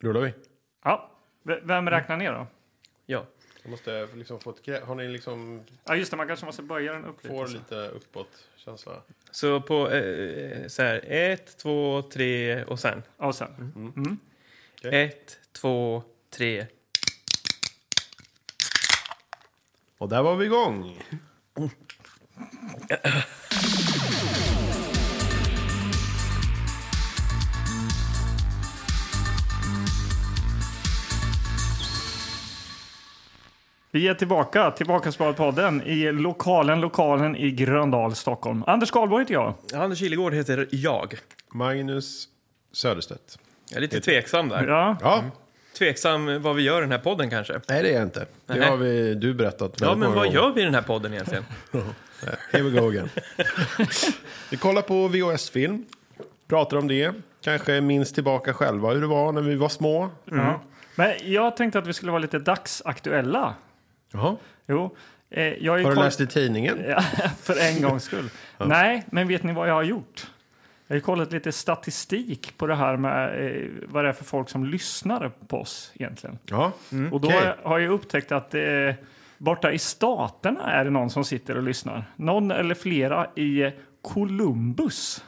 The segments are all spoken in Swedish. Rullar vi? Ja. V- Vem räknar ner då? Ja. Jag måste liksom få ett grepp. Har ni liksom... Ja, just det, man kanske måste böja den upp Får lite. så. lite uppåt-känsla? Så på eh, så här, ett, två, tre och sen. Och sen. Mm. Okej. Ett, två, tre. Och där var vi igång! Vi är tillbaka, tillbaka på podden i lokalen, lokalen i Gröndal, Stockholm. Anders Karlborg heter jag. Anders Kilegård heter jag. Magnus Söderstedt. Jag är lite tveksam där. Ja. Ja, Mm. Tveksam vad vi gör i den här podden kanske. nej det är jag inte. Det Nej. har vi, du berättat Ja, väldigt men många vad gånger. gör vi i den här podden egentligen? Here we go again. vi kollar på VHS-film, pratar om det. Kanske minns tillbaka själva hur det var när vi var små. Ja. Mm. Men jag tänkte att vi skulle vara lite dagsaktuella. Jaha. Jo. Eh, jag är Har du koll- läst i tidningen? Ja, för en gångs skull. Nej, men vet ni vad jag har gjort? Jag har kollat lite statistik på det här med eh, vad det är för folk som lyssnar på oss egentligen. Ja. Mm. Och då Okej. har jag- har jag upptäckt att eh, borta i staterna är det någon som sitter och lyssnar. Någon eller flera i eh, Columbus.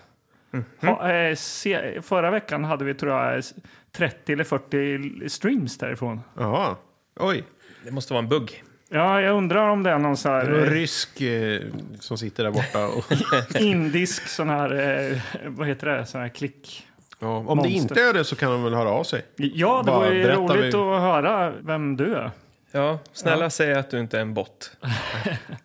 Mhm. Ha, eh, se, förra veckan hade vi tror jag s- 30 eller 40 streams därifrån. Jaha. Oj. Det måste vara en bugg. Ja, jag undrar om det är någon så Det är någon här eh, rysk eh, som sitter där borta. Och, indisk sån här, eh, vad heter det, sån här klick. ja, om det Monster. inte är det så kan de väl höra av sig. Ja, det Bara vore ju berätta roligt vi- att höra vem du är. Ja, snälla säg att du inte är en bot.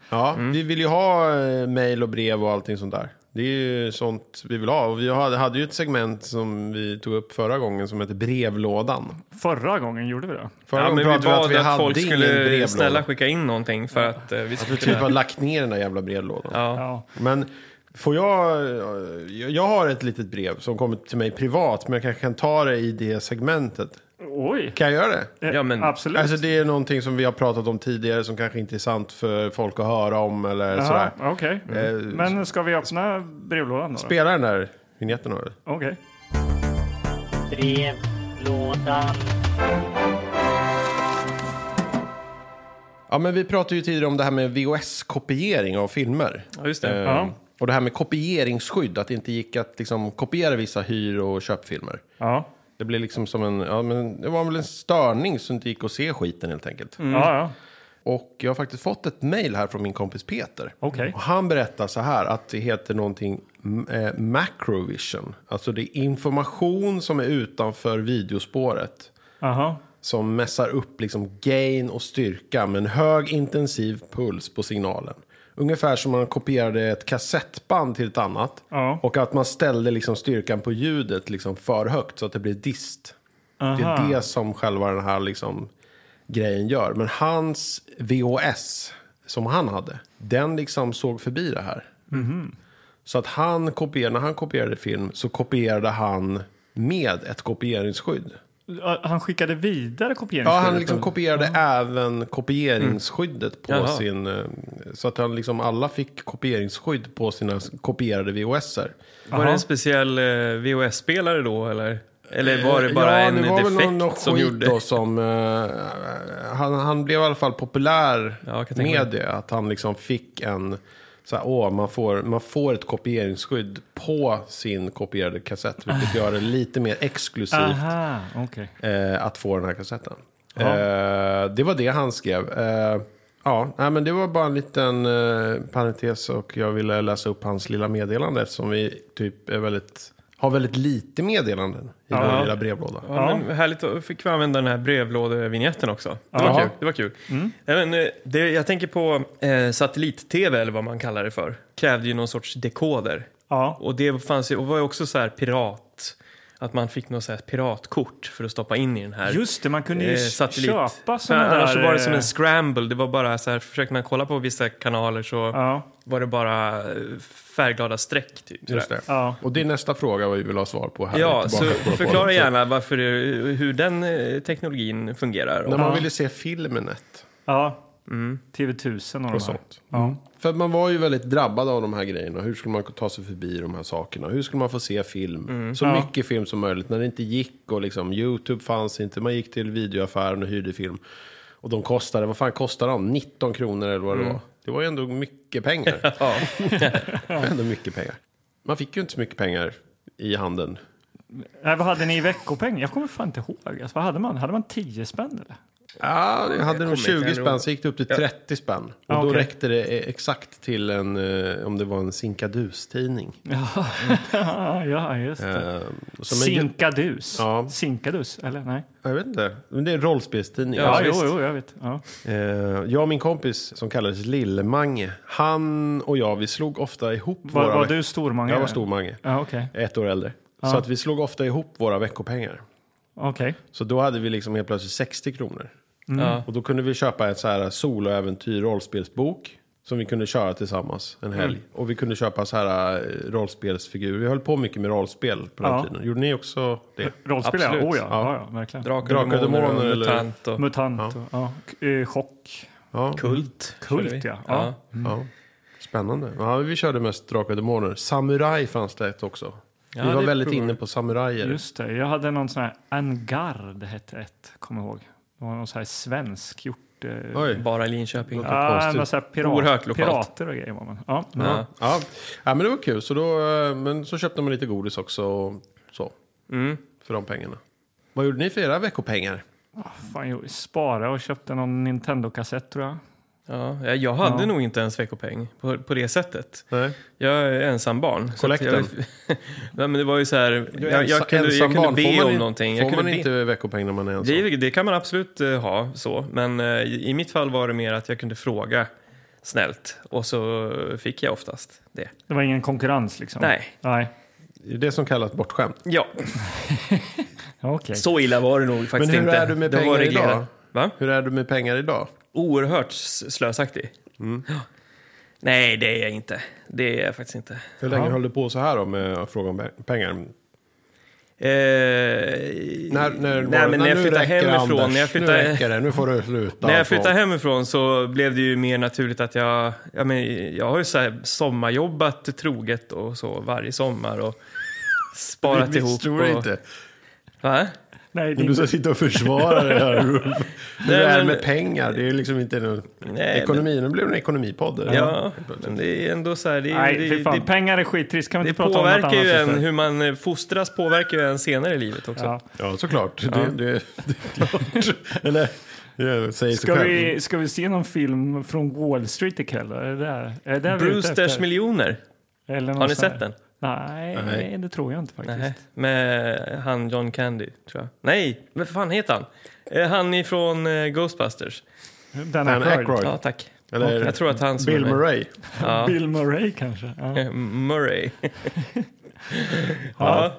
Ja, vi vill ju ha eh, mejl och brev och allting sånt där. Det är ju sånt vi vill ha. Och vi hade, hade ju ett segment som vi tog upp förra gången som heter brevlådan. Förra gången gjorde vi det. Förra Ja, gången men vi pratade bad att folk ingen skulle brevlåda. snälla skicka in någonting för att eh, vi Att skulle vi typ kunna... har lagt ner den där jävla brevlådan. Ja. Ja. Men får jag... eh, Jag jag har ett litet brev som kommit till mig privat, men jag kanske kan ta det i det segmentet. Oj! Kan jag göra det? Eh, Ja, men- Absolut. Alltså det är någonting som vi har pratat om tidigare som kanske inte är sant för folk att höra om eller sådär. Jaha, Okej. Mm. Eh, Men ska vi öppna brevlådan då? Spela den där vinjetten då. Okej. Brevlådan. Ja, men vi pratade ju tidigare om det här med VHS-kopiering av filmer. ja, just det. Eh, Ja. Och det här med kopieringsskydd, att det inte gick att liksom, kopiera vissa hyr och köpfilmer. Ja. Det blev liksom som en, ja, men det var väl en störning som inte gick att se skiten helt enkelt. ja, ja. Och jag har faktiskt fått ett mejl här från min kompis Peter. Okej. Och han berättar så här att det heter någonting m- eh, macrovision. Alltså det är information som är utanför videospåret. Aha. Som mässar upp liksom gain och styrka med en hög intensiv puls på signalen. Ungefär som man kopierade ett kassettband till ett annat. Ja. Och att man ställde liksom styrkan på ljudet liksom för högt så att det blir dist. Det är det som själva den här liksom grejen gör. Men hans VHS som han hade, den liksom såg förbi det här. Så att han kopierade, när han kopierade film så kopierade han med ett kopieringsskydd. Ja, Han skickade vidare Ja, kopieringsskyddet? han liksom kopierade även kopieringsskyddet på Mm. Jaha. sin... eh, Så att han liksom alla fick kopieringsskydd på sina kopierade VHSer. Var det Aha. en speciell eh, VHS-spelare då, eller? Eller var det bara Eh, ja, en det var väl defekt någon, någon som skit gjorde... Då som, eh, han, han blev i alla fall populär Ja, jag kan tänka med det. Att han liksom fick en... Så här, åh, man, får, man får ett kopieringsskydd på sin kopierade kassett. Vilket Ah. gör det lite mer exklusivt Aha, okej. eh, att få den här kassetten. Eh, det var det han skrev. Eh, ja, nej, men det var bara en liten eh, parentes och jag ville läsa upp hans lilla meddelande eftersom vi typ är väldigt, har väldigt lite meddelanden i vår Ja. lilla brevlåda. Ja, men härligt, då fick vi använda den här brevlådevinjetten också. Det Ja. var kul. Det var kul. Mm. Nej, men, eh, det, jag tänker på eh, satellit-tv, eller vad man kallar det för, krävde ju någon sorts dekoder. Ja. Och det fanns ju, och var ju också så här pirat, att man fick något så här piratkort för att stoppa in i den här Just det, man kunde ju eh, satellit. satellit. köpa För såna där... annars så var det som eh, en scramble, det var bara så här, försökte man kolla på vissa kanaler så Ja, var det bara eh, färgglada streck typ. sådär. Just det. ja. Och det är nästa fråga vad vi vill ha svar på här. Ja, så Tillbaka på det. förklara gärna Mm. varför, det- hur den eh, teknologin fungerar. När man ville se filmen ett. ja. Mm. TV1000 och, de här. och Mm. sånt. Ja. För att man var ju väldigt drabbad av de här grejerna. Hur skulle man ta sig förbi de här sakerna? Hur skulle man få se film? Så Mm, Ja. mycket film som möjligt. När det inte gick och liksom, YouTube fanns inte. Man gick till videoaffären och hyrde film. Och de kostade, vad fan kostade de? 19 kronor eller Mm. vad det var. Det var ju ändå mycket pengar. det var ändå mycket pengar. Man fick ju inte så mycket pengar i handen. Nej, Eh, vad hade ni i veckopeng? Jag kommer fan inte ihåg. Alltså, vad hade man? Hade man 10 spänn eller? Ja, jag hade Jag nog kommer inte 20 ihåg. spänn, så gick det upp till 30 spänn. Och Ja, då okej. räckte det eh, exakt till en, eh, om det var en sinkadus-tidning. Ja, ja just det. Eh, som en- Sinkadus. Ja. Sinkadus, eller? Nej. Jag vet inte. Men det är en rollspelstidning. Ja, Alltså, jo, visst. jo, jag vet. Ja. eh, jag och min kompis som kallades Lillemange. Han och jag, vi slog ofta ihop Var, våra... var veck- du stormangare? Jag var Stormange. Ja, okej. Ett år äldre. Så att vi slog ofta ihop våra veckopengar. Okej. Så då hade vi liksom helt plötsligt 60 kronor. Ja. Och då kunde vi köpa en så här soloäventyr rollspelsbok. Som vi kunde köra tillsammans Mm. en helg. Och vi kunde köpa så här eh, rollspelsfigurer. Vi höll på mycket med rollspel på den Ja. tiden. Gjorde ni också det? Rollspel, ja. Absolut. Oh, ja. Ja. Ja. ja. Verkligen. Drakar och Drakar och demoner demoner och eller- Mm. mutant och Mutant, ja. Ja. K- eh, chock. Ja. kult. Kult, körde vi. ja. Ja. Mm. Ja, spännande. Ja, vi körde mest Drakar och Demoner. Samurai fanns det ett också. Ja, vi var det väldigt provar inne vi. på samurajer. Just det. Jag hade någon sån här Angard hette ett, kommer jag ihåg. Det var någon sån här svensk gjort. Eh, Oj. Bara i Linköping. Ja. ja, konstigt. någon sån här Oerhört pirat, lokalt. pirater och grejer var man. Ja. Ja. Ja. ja, men det var kul. Så, då, eh, men så köpte man lite godis också och så, Mm. för de pengarna. Vad gjorde ni för era veckopengar? Fan, jag sparade och köpte någon Nintendo-kassett tror jag. Ja. Jag hade Ja. nog inte ens veckopeng på, på det sättet. Nej. Jag är ensam barn. så att Jag, Kollekten. ja, men det var ju så här, Du är jag, ensa- jag kunde, jag ensam kunde barn. Får be man om in- någonting. Får Jag man kunde be. inte veckopeng när man är ensam? Det, det kan man absolut eh, ha så, men eh, i i mitt fall var det mer att jag kunde fråga snällt och så fick jag oftast det. Det var ingen konkurrens liksom? Nej, Nej. Det är det som kallas bortskämt. ja, Ja, Okej. så illa var det nog faktiskt Men hur inte. är du med Det var pengar reglerat. idag? Va? Hur är du med pengar idag? Oerhört s- slösaktig. Mm. Ja. Nej, det är jag inte. Det är jag faktiskt inte. Hur länge Ja. höll du på så här då med att fråga om pe- pengar? Eh, När, när, nej, var- men när när jag nu flyttade räcker, hemifrån, Anders. när Nu jag flyttade, räcker det, nu får du sluta. När jag fråga. flyttade hemifrån så blev det ju mer naturligt att jag... Ja, men jag har ju så här sommarjobbat troget och så varje sommar och sparat Vi ihop. misstror dig och, inte. Va? Nej, det är Du inte. ska sitta och försvara det här. Hur Nej, det är men- med pengar, det är liksom inte en Nej, ekonomi. Nu blev det en ekonomipodd. eller? Ja, men det är ändå så här... Det, Nej, det, fy fan. det, Pengar är skittrist. Kan vi det inte prata om något påverkar annat ju en, istället? hur man eh, fostras påverkar ju en senare i livet också. Ja. ja såklart. Det, det, det är klart. Eller, det säger sig Ska, själv. vi, ska vi se någon film från Wall Street ikväll? Är det där, är det där vi är ute Brewsters efter? miljoner, Eller har någon ni sån här- sett den? Nej, Nej. det tror jag inte faktiskt. Nej, med han John Candy, tror jag. Nej, vad fan heter han? Eh, Han ifrån eh, Ghostbusters. Dan Dan Aykroyd. Aykroyd. Ja, tack. Eller Jag tror att han som är Bill med. Murray. Ja. Bill Murray kanske. Ja. Eh, Murray. Ja.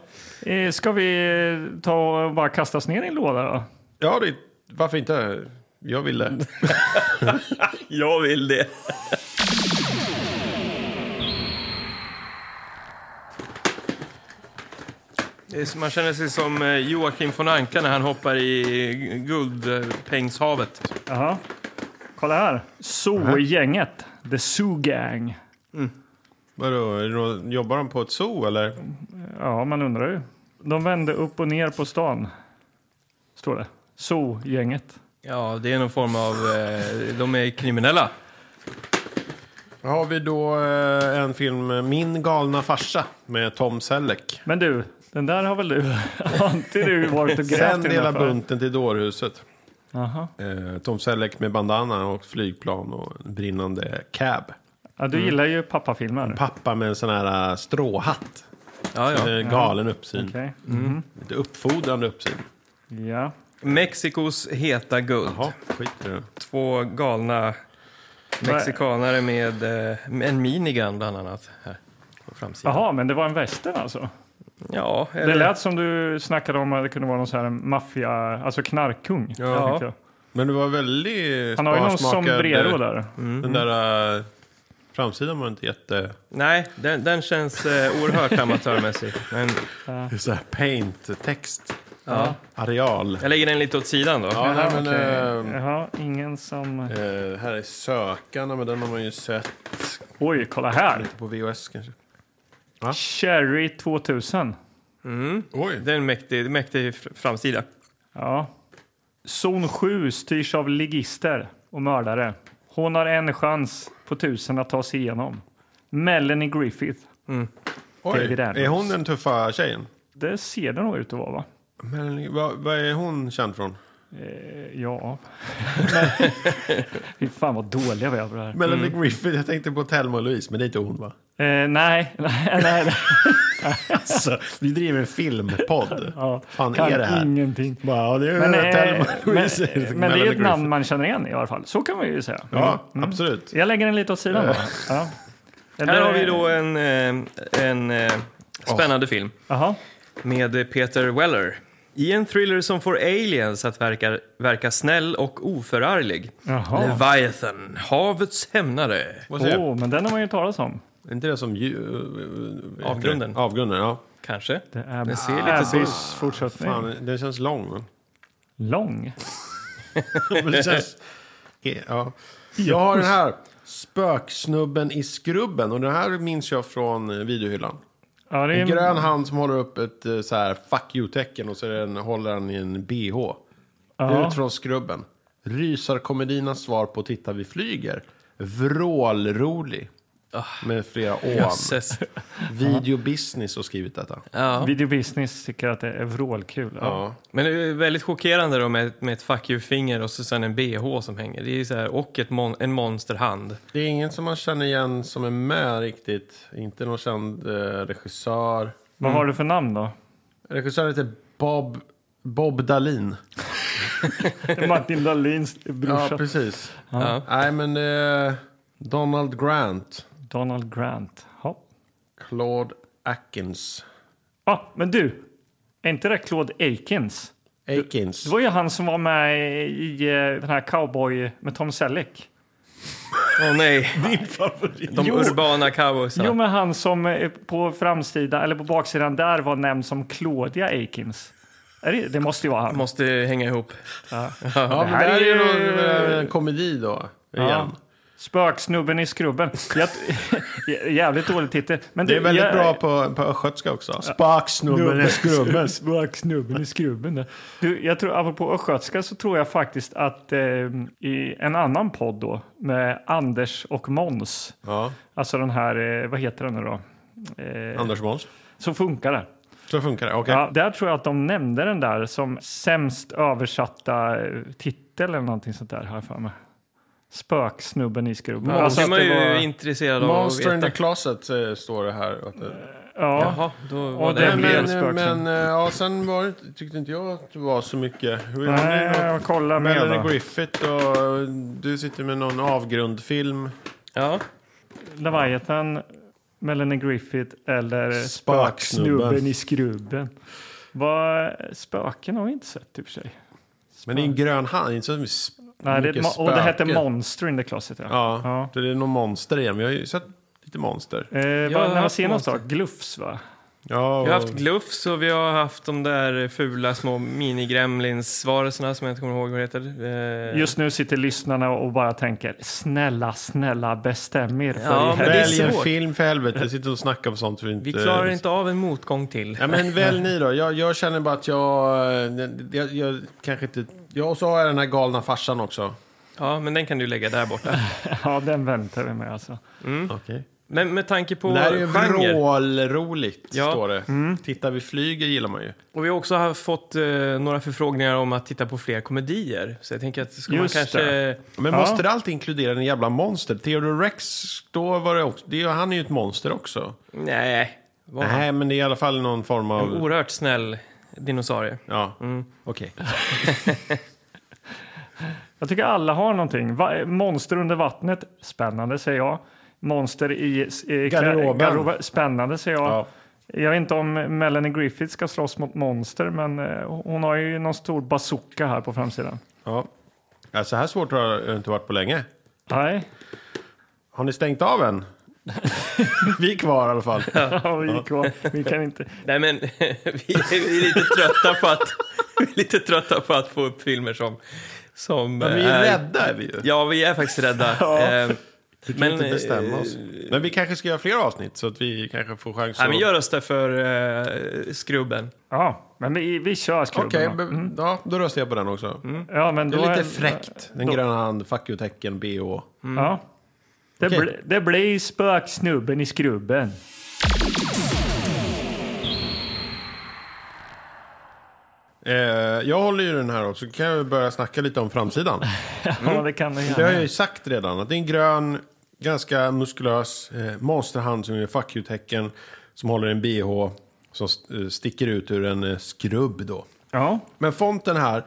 Eh, Ska vi ta och bara kasta oss ner i en låda då? Ja, det, varför inte? Jag ville. Jag vill det. Det är som- Man känner sig som eh, Joakim von Anka när han hoppar i guldpengshavet. Jaha. Kolla här. Zoo-gänget. The Zoo Gang. Vadå, är det någon- jobbar de på ett zoo eller? Ja, man undrar ju. De vände upp och ner på stan. Står det. Zoo-gänget. Ja, det är någon form av... eh, De är kriminella. Har vi då eh, en film, Min galna farsa, med Tom Selleck. Men du, den där har väl du? Har inte du varit och Sen grävt i den delar där för? bunten till dårhuset. Jaha. Eh, Tom Selleck med bandana och flygplan och en brinnande cab. Ja, Mm. du gillar ju pappafilmer. Pappa med en sån här äh, stråhatt. Ja, ja. Eh, Galen uppsyn. Okej. Mm. Lite uppfordrande uppsyn. Ja. Mexikos heta guld. Jaha, skit i det. Två galna mexikanare med eh, en minigun bland annat. Här på framsidan. Jaha, men det var en western alltså? Ja, Det eller- lät som du snackade om att det kunde vara någon så här maffia, alltså knarkkung. Ja. tänkte jag. Men det var väldigt Han har ju någon sparsmakad, sombrero eh, där. Mm. Den där äh, framsidan var inte jätte... Nej, den, den känns eh, oerhört amatörmässig. Men Så här paint-text. Ja. Areal. Jag lägger den lite åt sidan då. Ja, nej, men, okej. eh, Jaha, ingen som... eh, här är Sökarna, men den har man ju sett Oj, kolla här! på VHS kanske. Cherry 2000. Mm. Oj. Det är en mäktig, mäktig fr- framsida. Ja. Zon 7 styrs av ligister och mördare. Hon har en chans på tusen att ta sig igenom. Melanie Griffith. Oj. David Adams. Är hon den tuffa tjejen? Det ser det nog ut att vara, va? Men, vad, vad är hon känd från? Eh, ja. Fy fan vad dåliga vi är på det här. Melanie Griffith, jag tänkte på Thelma och Louise, men det är inte hon va? Eh, nej, nej, nej. nej. Alltså, vi driver en filmpodd. Ja. Fan Kan är det här? ingenting. Bara, ja, det är Men, eh, Thelma och men, Louise. men det är Melanie ju ett namn Mm. Griffith. Mm. man känner igen i alla fall. Så kan man ju säga. Ja, absolut. Jag lägger den lite åt sidan. bara. Ja. Här har vi då en, eh, en eh, spännande film Jaha. med Peter Weller. I en thriller som får aliens att verka, verka snäll och oförarglig. Jaha. Leviathan, havets hämnare. Vad säger Åh, men den har man ju talat om. Är inte det som... eh, Ju, Avgrunden. Avgrunden, ja. Kanske. Det är Den ser lite så- Abbys fortsättning. Fan, den känns lång. Men. Lång. Men det känns... Ja. Jag har den här. Spöksnubben i skrubben. Och den här minns jag från eh, videohyllan. Ja, det är En grön hand som håller upp ett eh, så här fuck you-tecken och så är det en, håller han i en bh. Ja. Ut från skrubben. Rysarkomediernas svar på Titta vi flyger. Vrålrolig. Med flera ån. Jösses. Video Business har skrivit detta. Ja. Video Business tycker att det är vrålkul. Ja. Ja. Men det är väldigt chockerande då med, med ett fuck you-finger och så sen en bh som hänger. Det är så här, och ett mon en monsterhand. Det är ingen som man känner igen som är med riktigt. Inte någon känd eh, regissör. Vad har du för namn då? Regissören heter Bob, Bob Dalin. Martin Dahlins Ja, brorsa. precis. Ja. Nej, men eh, Donald Grant. Donald Grant. Ja. Claude Atkins. Ah, men du, är inte det Claude Akins? Akins. Det var ju han som var med i eh, den här Cowboy med Tom Selleck. Åh nej. Din favorit. De urbana Jo, cowboysarna. men han som eh, på framsidan, eller på baksidan där var nämnd som Claudia Akins. Är det, det måste ju vara han. Måste hänga ihop. ja, men det här är ju någon, eh, en komedi då. Igen. Spöksnubben i skrubben. Jag, jävligt dålig titel. Men Det är du, väldigt jag- bra på, på östgötska också. Spaksnubben är skrubben. Spöksnubben i skrubben. Där. Du, jag tror, apropå östgötska så tror jag faktiskt att eh, i en annan podd då med Anders och Måns, Ja, alltså den här, eh, vad heter den nu då? Eh, Anders Måns. så funkar det. Så funkar det. Okej. Ja, där tror jag att de nämnde den där som sämst översatta eh, titel eller någonting sånt där har jag för mig. Spöksnubben i skrubben. Ja, Alltså, Alltså det att är man det ju var- intresserad av att Monster in veta. the Closet eh, står det här. Att det- ja, Jaha, då var Och det den en Men, blev- del. men, spöken. men eh, ja, sen var, det- tyckte inte jag att det var så mycket. Hur- nej, det är något- jag kollar med. Melanie då. Griffith och eh, du sitter med någon avgrundfilm. Ja. Leviathan, Melanie Griffith eller Spöksnubben. Spöksnubben i skrubben. Vad, spöken har vi inte sett i och för sig. Men det är en grön hand. Inte så sp- Nej, det, är ett mycket mo- och det hette spöke. Monster in the Closet. Ja. Ja, Ja. det är någon monster igen. Vi har ju sett lite monster. Eh, har vad, när man haft ser något Monster. då? Glufs, va? Ja, Vi har haft glufs och vi har haft de där fula små mini-gremlins-varelserna som jag inte kommer ihåg vad det heter. Eh, Just nu sitter lyssnarna och bara tänker snälla, snälla bestäm er för Ja, i men det är välj helvete. en svårt. film för helvete. Jag sitter och snackar på sånt vi inte... Vi klarar inte av en motgång till. Ja, men välj ni då. Jag, jag känner bara att jag, eh, jag, jag kanske inte... Ja, och så har jag den här galna farsan också. Ja, men den kan du lägga där borta. Ja, den väntar vi med alltså. Okej. Men med tanke Mm. på Det här är ju genre. vrålroligt, Ja. Mm. står det. Titta, vi flyger gillar man ju. Och vi har också haft fått eh, några förfrågningar om att titta på fler komedier. Så jag tänker att ska man Just kanske... det. Men Ja. måste det alltid inkludera en jävla monster? Theodore Rex, då var det också, det, är- han är ju ett monster också. Nej. Var Nej, men det är i alla fall någon form en Mm. av... oerhört snäll dinosaurie. Ja, okej. Jag tycker alla har någonting. Va- Monster under vattnet, spännande säger jag. Monster i eh, klä- Garderoben. garderoben, spännande säger jag. Ja. Jag vet inte om Melanie Griffith ska slåss mot monster, men eh, hon har ju någon stor bazooka här på framsidan. Ja. Ja, så här svårt har det inte varit på länge. Nej, Har ni stängt av än? vi är kvar i alla fall. ja, vi, gick och, vi kan inte. Nej, men vi är lite trötta på att vi är lite trötta på att få upp filmer som... som eh, Men vi är ju rädda är vi ju. Ja, vi är faktiskt rädda. Eh, Vi kan inte bestämma oss. Men vi kanske ska göra fler avsnitt så att vi kanske får chans Nej, men jag röstar för eh, Skrubben. Ja, men vi, vi kör skrubben. Okej, då. men- ja, då röstar jag på den också. ja, men Det Mm. då är lite fräckt. Den gröna hand, fuck you-tecken, BH. Ja. Det, Okej. bli, det blir spöksnubben i skrubben. Eh, jag håller ju den här också. Kan jag börja snacka lite om framsidan? Ja, det kan det Mm. Det har gärna. jag ju sagt redan. Att det är en grön, ganska muskulös eh, monsterhand som är fuck you-tecken. Som håller en BH som eh, sticker ut ur en eh, skrubb då. Ja, Men fonten här,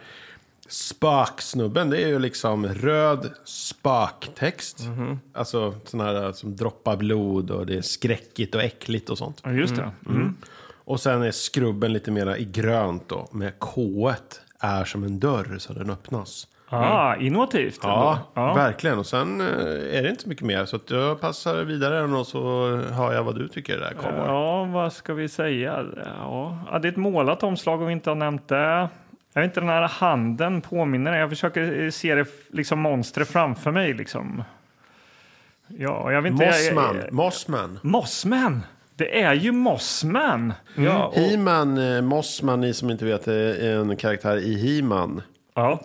spöksnubben, det är ju liksom röd spöktext. Alltså sån här som droppar blod och det är skräckigt och äckligt och sånt. ja, just det. Mm. Och sen är skrubben lite mera i grönt då, med K är som en dörr så den öppnas. Ah, innovativt. Mm. Ja, ändå. ja. verkligen. Och sen eh, är det inte så mycket mer. Så att jag passar vidare och så hör jag vad du tycker det där kommer. Ja, vad ska vi säga? Ja. Ja, det är ett målat omslag om vi inte har nämnt det. Jag vet inte, den här handen påminner. Jag försöker eh, se det f- liksom monstret framför mig. Liksom. Ja, jag vet inte. jag- Mossman. jag- Mossman. Mossman! Det är ju Mossman! Ja, och, He-Man, eh, Mossman, ni som inte vet, är en karaktär i He-Man. Ja.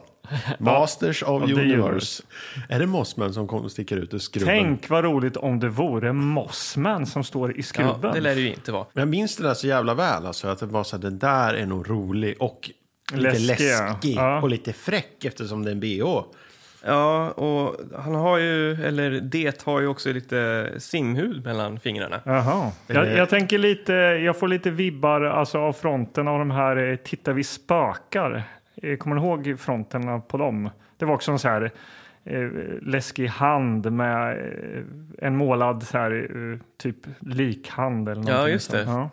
Masters of the Universe. Universe. Är det Mossman som kommer sticker ut ur skrubben? Tänk vad roligt om det vore Mossman som står i ja, skrubben. det lär det ju inte vara. Men Jag minns det där så jävla väl. Alltså, att det var så här, den där är nog rolig och lite Läskig, ja. läskig Ja. och lite fräck eftersom det är en bh. Ja, och han har ju, eller det har ju också lite simhud mellan fingrarna. Jaha. Jag, jag tänker lite, jag får lite vibbar alltså, av fronten av de här eh, Titta vi spökar. Eh, Kommer ni ihåg fronterna på dem? Det var också en så här eh, läskig hand med eh, en målad så här, eh, typ likhand eller någonting just sånt. det. Ja.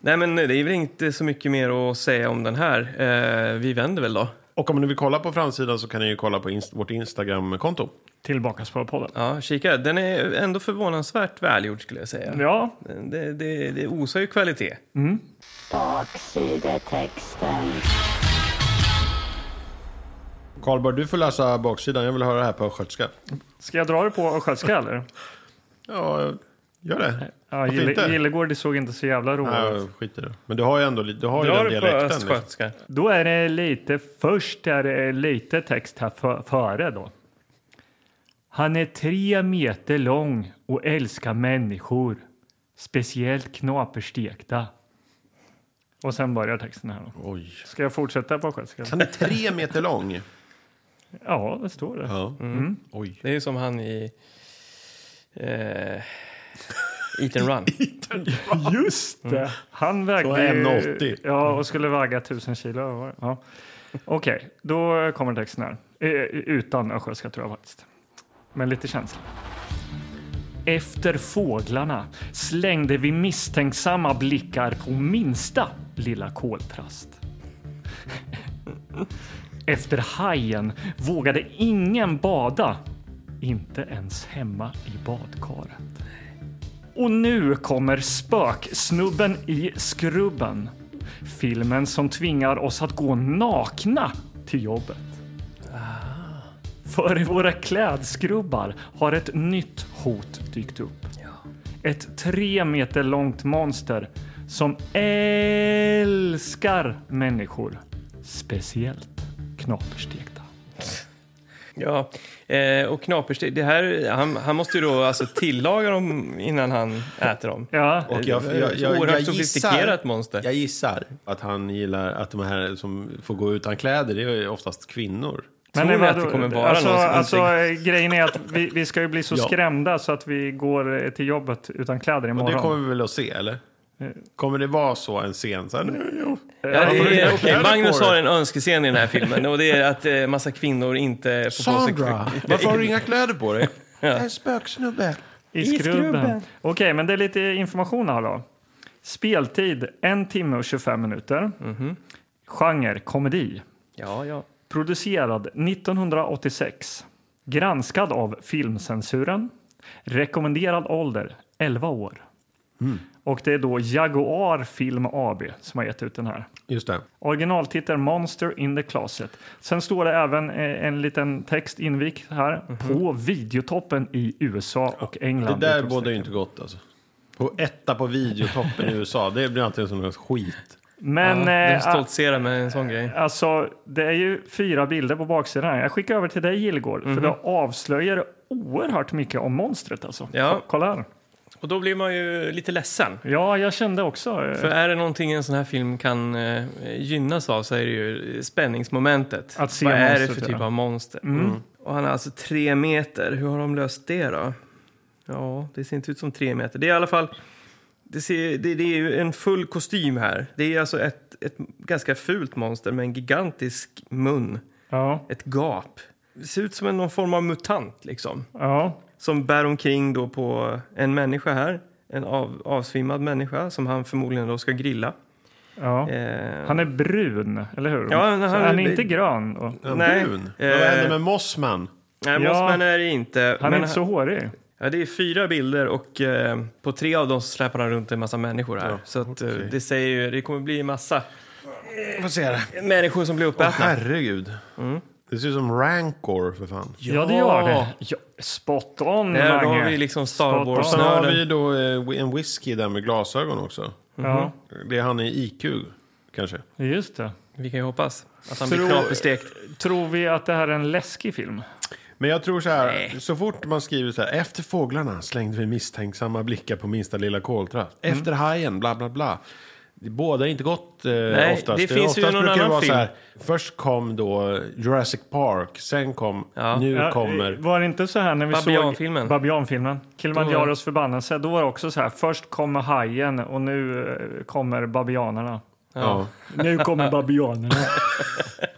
Nej, men det är väl inte så mycket mer att säga om den här. Eh, vi vänder väl då. Och om ni vill kolla på framsidan så kan ni ju kolla på inst- vårt Instagram-konto. Tillbaka på podden. Ja, kika. Den är ändå förvånansvärt välgjord skulle jag säga. Ja, Det, det, det osar ju kvalitet. Baksidetexten. Karlborg, du får läsa baksidan. Jag vill höra det här på östgötska. ska jag dra det på östgötska eller? Ja, gör det. Ja, Varför Gille- inte? Gillegård det såg inte så jävla roligt Nej, jag skiter i det. Men du har ju ändå li- du har ju Dra den det på dialekten. Liksom. östgötska. Då är det lite, först är det lite text här för, före då. Han är tre meter lång och älskar människor. Speciellt knaperstekta. Och sen börjar texten här då. Oj. Ska jag fortsätta på svenska? Han är tre meter lång. Ja, det står det. Ja. Oj. Det är ju som han i... Eh, Eat and run. Just det! Han Så vägde ju- 1,80. Ja, och skulle väga 1000 kilo. över. Ja. Okej, då kommer texten här. Eh, Utan östgötska tror jag faktiskt. Men lite känsla. Efter fåglarna slängde vi misstänksamma blickar på minsta lilla koltrast. Efter hajen vågade ingen bada, inte ens hemma i badkaret. Och nu kommer spöksnubben i skrubben. Filmen som tvingar oss att gå nakna till jobbet. För i våra klädskrubbar har ett nytt hot dykt upp. Ett tre meter långt monster som älskar människor. Speciellt knaperstekta. Ja, eh, och knaperstek. Det här, han, han måste ju då alltså tillaga dem innan han äter dem. Ja, Och jag, jag, jag, jag, Oerhört gissar, sofistikerat monster. jag gissar att han gillar att de här som får gå utan kläder, det är ju oftast kvinnor. Tror ni vadå? att det kommer vara alltså, någon som- alltså, eh, Grejen är att vi, vi ska ju bli så Ja. skrämda så att vi går eh, till jobbet utan kläder Och imorgon. det kommer vi väl att se, eller? Kommer det vara så en scen? Så här, nu, jo. Ja, det får du är, lägga okej, kläder Magnus på har dig? en önskescen i den här filmen och det är att eh, massa kvinnor inte får Sandra, på sig... varför har du inga kläder på dig? Jag är en spöksnubbe. I skrubben. Okej, men det är lite information här då. Speltid, en timme och 25 minuter. Mhm. Genre, komedi. Ja, ja. Producerad 1986. Granskad Mm. av filmcensuren. Rekommenderad ålder 11 år. Och det är då Jaguar Film AB som har gett ut den här. Just det. Originaltiteln Monster in the Closet. Sen står det även eh, en liten text invikt här Mhm. på videotoppen i USA och Det England. där bådar ju inte gott alltså. På etta på videotoppen i USA, det blir alltid som något skit. Men ja, de eh, a- stoltserar med en sån grej. alltså, det är ju fyra bilder på baksidan. här. Jag skickar över till dig Gillegård Mhm. för det avslöjar oerhört mycket om monstret alltså. Ja. Ko- Kolla här. Och då blir man ju lite ledsen. Ja, jag kände också. eh, För är det någonting en sån här film kan eh, gynnas av så är det ju spänningsmomentet. Att se Vad är det monstret, för ja. typ av monster? Mm. Och han är alltså tre meter. Hur har de löst det då? Ja, det ser inte ut som tre meter. Det är i alla fall... Det, ser, det, det är ju en full kostym här. Det är alltså ett, ett ganska fult monster med en gigantisk mun. Ja, Ett gap. Det ser ut som en, någon form av mutant liksom ja. som bär omkring då på en människa här. En av, avsvimmad människa som han förmodligen då ska grilla. ja. Eh, Han är brun, eller hur? Ja, han- Så han- han är inte grön. Då. Ja, Nej. brun. Eh. Men Vad hände med Mossman? nej, ja. Mossman är det inte. Han är men inte så hårig. ja, det är fyra bilder och eh, på tre av dem så släpar han runt en massa människor här. Ja, så att, eh, okej. det säger ju, det kommer bli en massa Får se det. människor som blir Åh, uppätna. herregud. Mm. Det ser ut som Rancor för fan. Ja, det gör det. Ja, spot on, Där har Mange. vi liksom Star Spot on. Sen har vi Wars-nörden. ju då eh, en whisky där med glasögon också. Ja, Det är han i IQ kanske. Mm-hmm. just det. Vi kan ju hoppas att han Tror- blir knaperstekt. Tror vi att det här är en läskig film? Men jag tror så här, så fort man skriver så här, efter fåglarna slängde vi misstänksamma blickar på minsta lilla koltrast. Mm. Efter hajen, bla bla bla. Det båda är inte gott eh, Nej, oftast. det finns ju oftast någon brukar det annan vara film. Så här, först kom då Jurassic Park, sen kom, Ja. nu Ja, kommer. Var det inte så här när vi Babianfilmen. såg Babianfilmen? Kilimanjaros förbannelse. Då var det också så här, först kommer hajen och nu eh, kommer babianerna. Ja. Nu kommer babianerna.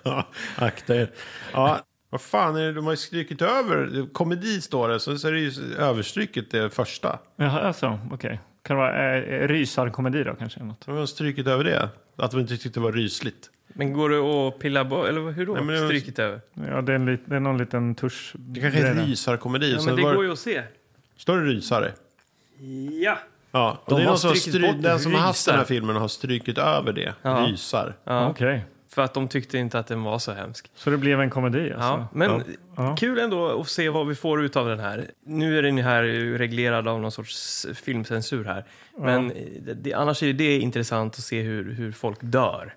Ja. Akta er. Ja. Vad fan är det de har ju strykit över? Komedi står det, så, så är det ju överstryket det första. Jaha, alltså, okej. Kan det vara eh, rysarkomedi då kanske? eller Något? De har strykit över det. Att de inte tyckte det var rysligt. Men går det att pilla bort, eller hur då? Nej, Nej, men det- Stryket över? Ja, det är, en lit, det är någon liten tusch. Det kanske är en rysarkomedi. Ja, så men det det var... går ju att se. Står det rysare? Ja. Ja, och De det är har någon som strykit stry... bort den som har haft den här rysar. filmen har strykit över det. Ja. Rysar. ja. Okej, För att de tyckte inte att den var så hemsk. så det blev en komedi alltså? Ja, men Ja. kul ändå att se vad vi får ut av den här. Nu är den ju här reglerad av någon sorts filmcensur här. Men eh, det, annars är ju det intressant att se hur, hur folk dör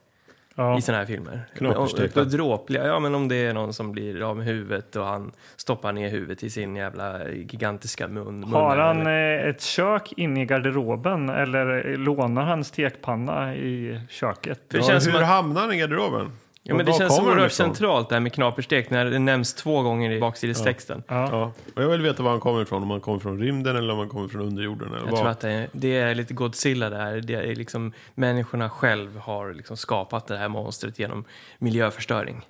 Ja. i sådana här filmer. Knaperstekta. Och- och Dråpliga, ja men om det är någon som blir av med huvudet och han stoppar ner huvudet i sin jävla gigantiska mun. Har munnen han eller- eh, ett kök inne i garderoben eller eh, lånar han stekpanna i köket? För det Ja, känns hur som att, hamnar den i garderoben? ja, men det Var känns kommer den oerhört ifrån? centralt det här med knaperstek när det nämns två gånger i baksidestexten. Ja. Ja. Och jag vill veta var han kommer ifrån. Om han kommer från rymden eller om han kommer från underjorden. Eller Jag vad. tror att det är, det är lite Godzilla där. Det är liksom, människorna själv har liksom skapat det här monstret genom miljöförstöring.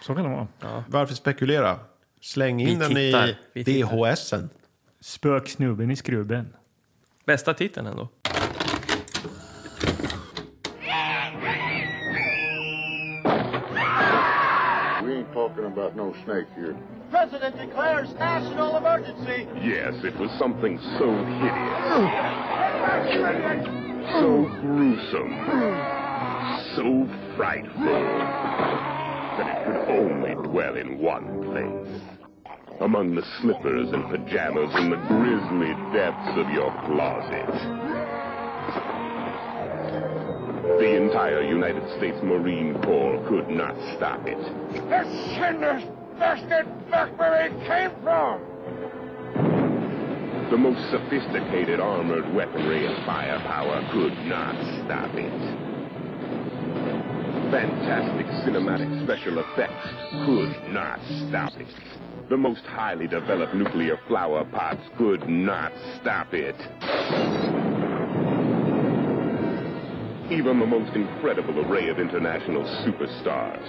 Så kan det vara. Varför spekulera? Släng in Vi den tittar. i Vi tittar. DHSen. Spöksnubben i skrubben. Bästa titeln ändå. We ain't talking about no snake here. President declares national emergency. Yes, it was something so hideous, so gruesome, so frightful, that it could only dwell in one place. Among the slippers and pajamas in the grisly depths of your closet. The entire United States Marine Corps could not stop it. The cinders bastard back where it came from. The most sophisticated armored weaponry and firepower could not stop it. Fantastic cinematic special effects could not stop it. The most highly developed nuclear flower pots could not stop it. Even the most incredible array of international superstars.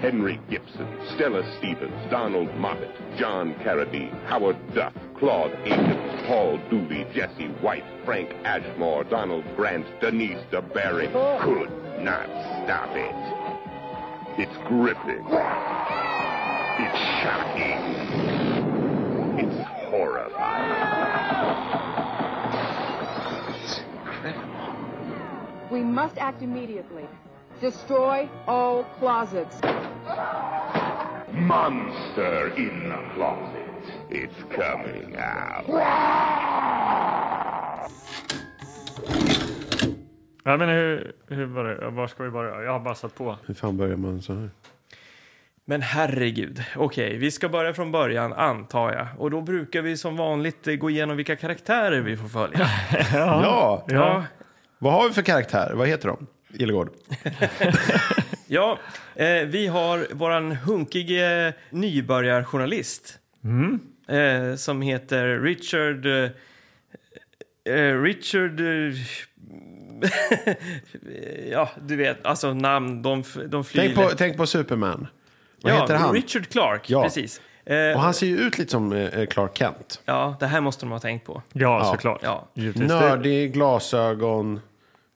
Henry Gibson, Stella Stevens, Donald Moffat, John Carradine, Howard Duff, Claude Akins, Paul Dooley, Jesse White, Frank Ashmore, Donald Grant, Denise DeBerry could not stop it. It's gripping. It's shocking. It's horrifying. It's incredible. We must act immediately. Destroy all closets. Monster in the closet. It's coming out. Ja, men hur, hur var det? Var ska vi börja? Jag har bara satt på. Hur fan börjar man så här? Men herregud, okej, vi ska börja från början antar jag. Och då brukar vi som vanligt eh, gå igenom vilka karaktärer vi får följa. Ja. ja, Vad har vi för karaktär? Vad heter de? Illegård. ja eh, vi har våran hunkige nybörjarjournalist. Mm. Eh, som heter Richard... Eh, eh, Richard... Eh, ja, du vet, alltså namn, de, f- de flyger. Tänk på, tänk på Superman. Vad ja, heter han? Richard Clark, Ja. precis. Eh, Och han ser ju ut lite som eh, Clark Kent. Ja, det här måste de ha tänkt på. Ja, såklart. Ja. Givetvis. Nördig, glasögon.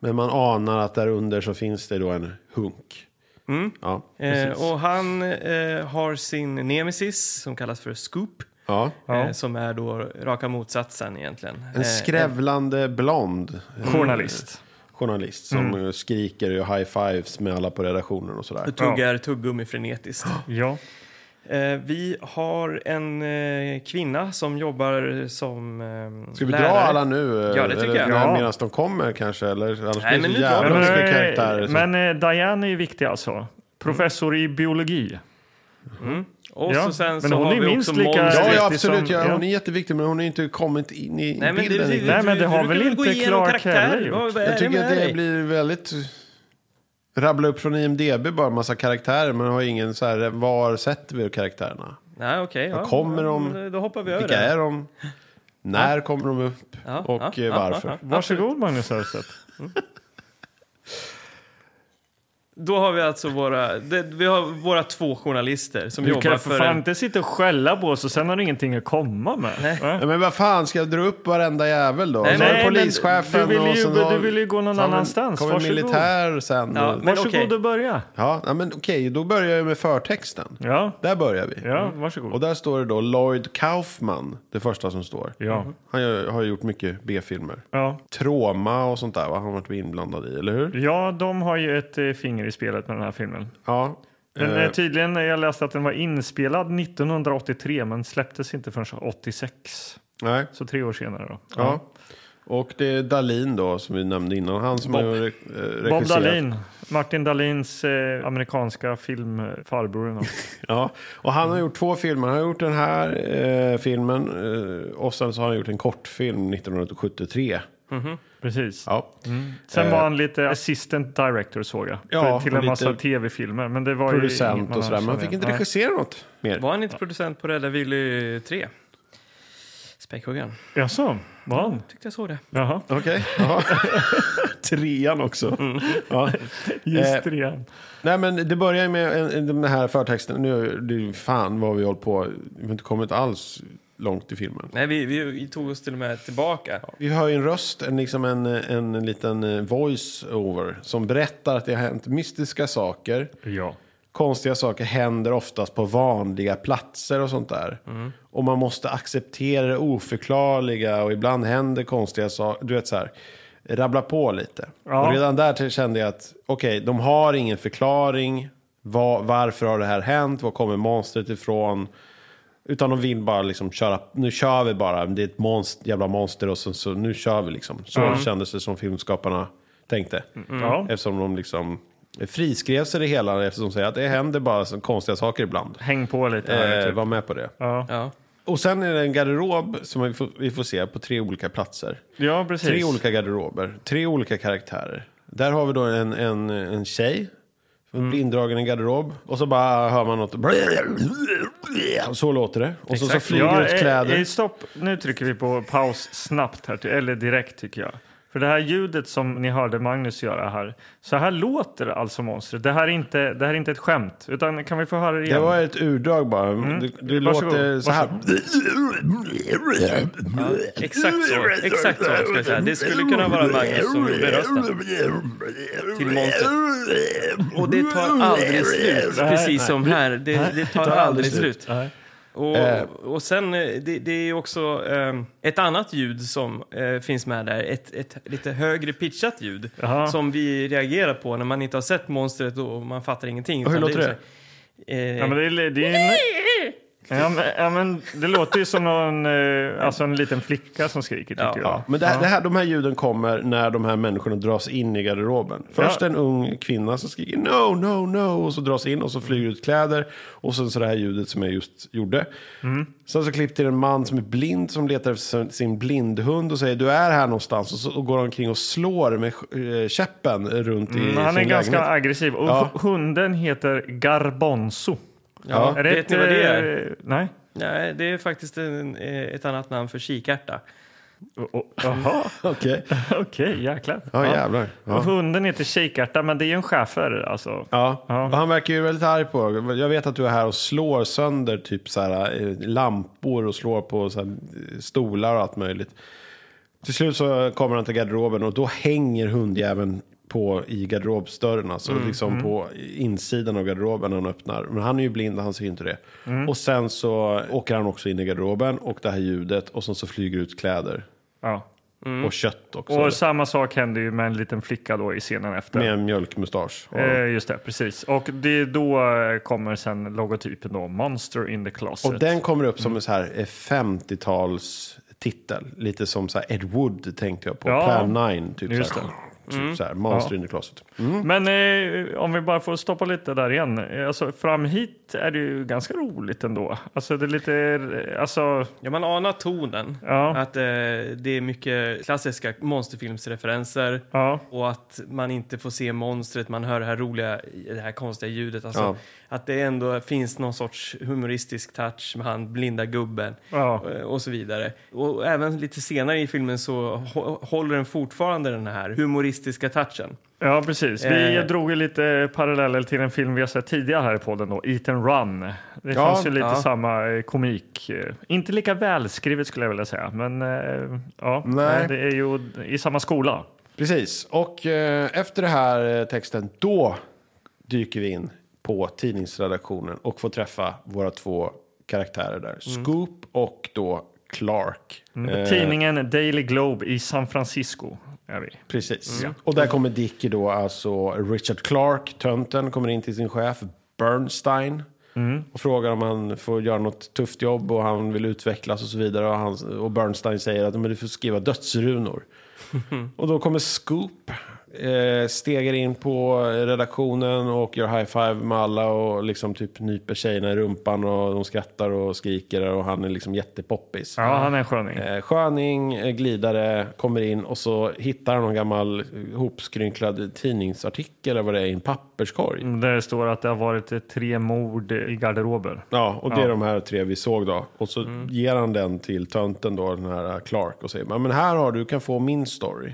Men man anar att där under så finns det då en hunk. Mm. Ja, precis. Eh, och han eh, har sin nemesis som kallas för Scoop. ja. Eh, som är då raka motsatsen Eh, egentlen. En skrävlande blond Mm. eh, Journalist. journalist som eh, skriker och gör high-fives med alla på redaktionen och sådär. och tuggar tuggummi frenetiskt. Mm. Ja. Eh, vi har en eh, kvinna som jobbar som eh, Ska vi lärare. dra alla nu? eh, Ja, det tycker eller, jag. Ja. Medan de kommer kanske? Eller, annars Nej, blir men det nu så jävla drar vi dem. mycket eh, karaktärer. som- men eh, Diane är ju viktig alltså. Professor i biologi. Och Ja, så sen men så hon har är vi minst också lika- Måns- Ja, ja Precis som- absolut. ja, ja. hon är jätteviktig, men hon har inte kommit in i Nej, men det, bilden. det, riktigt. Nej, men det du- har du väl brukar inte gå igenom Clark heller karaktärer. gjort? Vad- vad är Jag tycker med att det dig? blir väldigt... Rabbla upp från IMDB bara en massa karaktärer, men har ingen så här, var sätter vi karaktärerna? Nej, okej. ja, kommer de? men Då hoppar vi över Vilka det. är de? När kommer de upp? Ja, och ja, eh, ja, varför? ja, ja. Varsågod Magnus Örstedt. Då har vi alltså våra, det, vi har våra två journalister som Du jobbar kan för... för fan en- inte sitta och skälla på oss och sen har du ingenting att komma med. Nej, Ja, men vad fan, ska jag dra upp varenda jävel då? Nej, så har vi nej, men polischefen du vill ju- och sen har- du vill ju gå någon så har vi- annanstans. kommer Varsågod. militär sen. Ja, Ja, men, men Varsågod okej. och börja. ja, men okej, då börjar jag med förtexten. Ja, Där börjar vi. ja Och varsågod. där står det då Lloyd Kaufman, det första som står. Ja. Han gör- har gjort mycket B-filmer. Ja. Trauma och sånt där, vad han har varit inblandad i, eller hur? ja, de har ju ett eh, finger i spelet med den här filmen. Ja. Den, Eh, eh, tydligen, eh, jag läste att den var inspelad 1983 men släpptes inte förrän 86. nej. Så tre år senare då. Ja. Och det är Dalin då, som vi nämnde innan. Han som Bob. har re- eh, regisserat. Bob Dahlin, Martin Dahlins eh, amerikanska filmfarbror. då. Ja. Och han har gjort två filmer. Han har gjort den här eh, filmen eh, och sen så har han gjort en kortfilm 1973. Precis. Ja. eh. Sen var han lite assistant director såg jag. Ja, till och en massa lite tv-filmer. Men det var ju inget Producent man och sådär. Men hade han som fick inte jag. regissera något mer. Var han inte producent på Rädda Willy 3? Späckhuggaren. Nej. Jaså, var han? Tyckte jag såg det. Jaha, Okej. Ja. Trean också. Ja. Eh, just det igen. Nej men det börjar ju med en, en, den här förtexten. Nu, det, fan vad vi hållit på. Vi har inte kommit alls långt i filmen. Nej, vi, vi tog oss till och med tillbaka. Vi hör ju en röst, en, liksom en, en, liten eh, voice-over som berättar att det har hänt mystiska saker. Ja. Konstiga saker händer oftast på vanliga platser och sånt där. Och man måste acceptera det oförklarliga och ibland händer konstiga saker. Du vet så här, rabbla på lite. Ja. Och redan där till- kände jag att okej, de har ingen förklaring. Vad- varför har det här hänt? Var kommer monstret ifrån? Utan de vill bara liksom köra, nu kör vi bara, det är ett monster, jävla monster och så, så nu kör vi liksom. Så kändes det som filmskaparna tänkte. Ja. Eftersom de liksom friskrev sig det hela eftersom de säger att det händer bara så konstiga saker ibland. Häng på lite här. Eh, typ. var med på det. Ja. Ja. Och sen är det en garderob som vi får, vi får se på tre olika platser. ja, precis. Tre olika garderober, tre olika karaktärer. Där har vi då en, en, en tjej som blir indragen i en garderob och så bara hör man något. Och Så låter det. Och så, så Exakt. flyger det ut kläder. eh, eh, stopp, nu trycker vi på paus snabbt här, ty- eller direkt tycker jag. För det här ljudet som ni hörde Magnus göra här, så här låter alltså monstret. Det här är inte, det här är inte ett skämt, utan kan vi få höra det Det igen? var ett urdrag bara. Mm. Det, det Varsågod, låter så här. Exakt så. Exakt så ska jag säga. Det skulle kunna vara Magnus som gjorde rösten. Till monstret. Och det tar aldrig slut. Nej, Precis som här. Det, det tar aldrig slut. Nej. Och, Eh. och sen, eh, det, det är ju också eh, ett annat ljud som eh, finns med där. Ett, ett lite högre pitchat ljud Jaha. som vi reagerar på när man inte har sett monstret och man fattar ingenting. Och hur Utan låter är det? så- Eh, Ja, men det, är- det, är ja, men, ja, men det låter ju som någon, eh, alltså en liten flicka som skriker tycker Ja. jag. Men det, det här, de här ljuden kommer när de här människorna dras in i garderoben. Först Ja. en ung kvinna som skriker no, no, no och så dras in och så flyger ut kläder. Och sen så det här ljudet som jag just gjorde. Mm. Sen så klipp till en man som är blind som letar efter sin- sin blindhund och säger du är här någonstans. Och så och går han omkring och slår med sk- eh, käppen runt i Men Mm, han sin är ganska lägenhet. aggressiv. Och Ja. hu- hunden heter Garbonzo. Ja. Är det Vet ett, ni vad det är? eh, Nej. Nej, det är faktiskt en, eh, ett annat namn för kikärta. Oh, oh, Jaha, Okej, okej, jäklar. ja jävlar. Och Ja. hunden heter Kikärta, men det är ju en schäfer alltså. Ja. Ja. och han verkar ju väldigt arg på Jag vet att du är här och slår sönder typ så här, eh, lampor och slår på så här, eh, stolar och allt möjligt. Till slut så kommer han till garderoben och då hänger hundjäveln på i garderobsdörren, alltså Mm, liksom på insidan av garderoben när han öppnar. Men han är ju blind och han ser inte det. Mm. Och sen så åker han också in i garderoben och det här ljudet och sen så flyger ut kläder Ja. och kött också. Mm. Och samma sak händer ju med en liten flicka då i scenen efter. med en mjölkmustasch. Och- Eh, just det, precis. Och det är då eh, kommer sen logotypen då, Monster in the Closet. Och den kommer upp Mm. som en så här eh, 50-tals titel. Lite som så här Ed Wood tänkte jag på. Ja. Plan 9, typ Just Mm. så här. Typ så här, Monster Ja. in the Closet. Men eh, om vi bara får stoppa lite där igen. Eh, Alltså, fram hit är det ju ganska roligt ändå. Alltså det är lite, eh, alltså, Ja, man anar tonen. Ja. Att eh, det är mycket klassiska monsterfilmsreferenser. ja. Och att man inte får se monstret, man hör det här roliga, det här konstiga ljudet. Alltså, Ja. Att det ändå finns någon sorts humoristisk touch med han blinda gubben Ja. eh, och så vidare. Och även lite senare i filmen så hå- håller den fortfarande den här humoristiska touchen. Ja, precis. Vi Eh. drog ju lite paralleller till en film vi har sett tidigare här i podden, då, Eat and Run. Det Ja, fanns ju lite ja. samma eh, komik. eh, Inte lika välskrivet skulle jag vilja säga, men eh, ja, Nej. eh, det är ju i samma skola. Precis. Och eh, efter den här eh, texten, då dyker vi in på tidningsredaktionen och får träffa våra två karaktärer Mm. där. Scoop och då Clark. Eh, Tidningen Daily Globe i San Francisco är vi. Precis. Och där kommer Dicky då, alltså Richard Clark, tönten, kommer in till sin chef Bernstein och frågar om han får göra något tufft jobb och han vill utvecklas och så vidare. Och, han, och Bernstein säger att Men, du får skriva dödsrunor. och då kommer Scoop, eh, stegar in på redaktionen och gör high five med alla och liksom typ nyper tjejerna i rumpan och de skrattar och skriker och han är liksom jättepoppis. Ja, han är en sköning. Eh, Sköning, eh, glidare, kommer in och så hittar han någon gammal eh, hopskrynklad tidningsartikel eller vad det är i en papperskorg. Där det står att det har varit eh, tre mord i garderober. Ja, och det är de här tre vi såg då. Och så ger han den till tönten då, den här eh, Clark, och säger "Ja, men här har du, du kan få min story.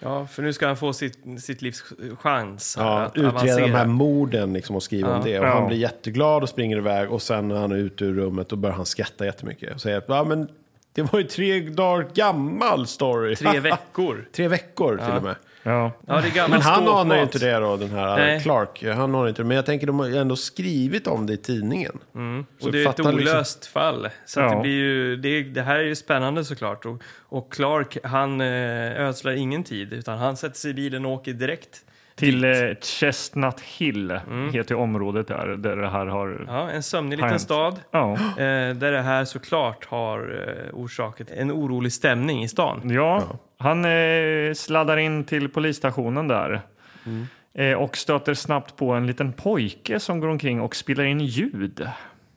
Ja, för nu ska han få sitt, sitt livs chans. här Ja, att utreda de avancera. här morden liksom, och skriva om det. Och Ja. han blir jätteglad och springer iväg och sen när han är ute ur rummet då börjar han skratta jättemycket. Och säger att ja, men det var ju tre dagar gammal story. Tre veckor. tre veckor till och med. Ja. Ja, det är gammal Men han skåpmat. anar ju inte det då, den här Nej. Clark. Han anar inte det. Men jag tänker, de har ju ändå skrivit om det i tidningen. Så Mm. Och det är ett fattar liksom- olöst fall. Så att Ja. det, blir ju, det, det här är ju spännande såklart. Och, och Clark, han eh, ödslar ingen tid, utan han sätter sig i bilen och åker direkt. Till eh, Chestnut Hill heter ju området där, där det här har... Ja, en Har sömnig liten hänt. stad. Ja. Eh, där det här såklart har eh, orsakat en orolig stämning i stan. Ja, han eh, sladdar in till polisstationen där. Eh, och stöter snabbt på en liten pojke som går omkring och spelar in ljud.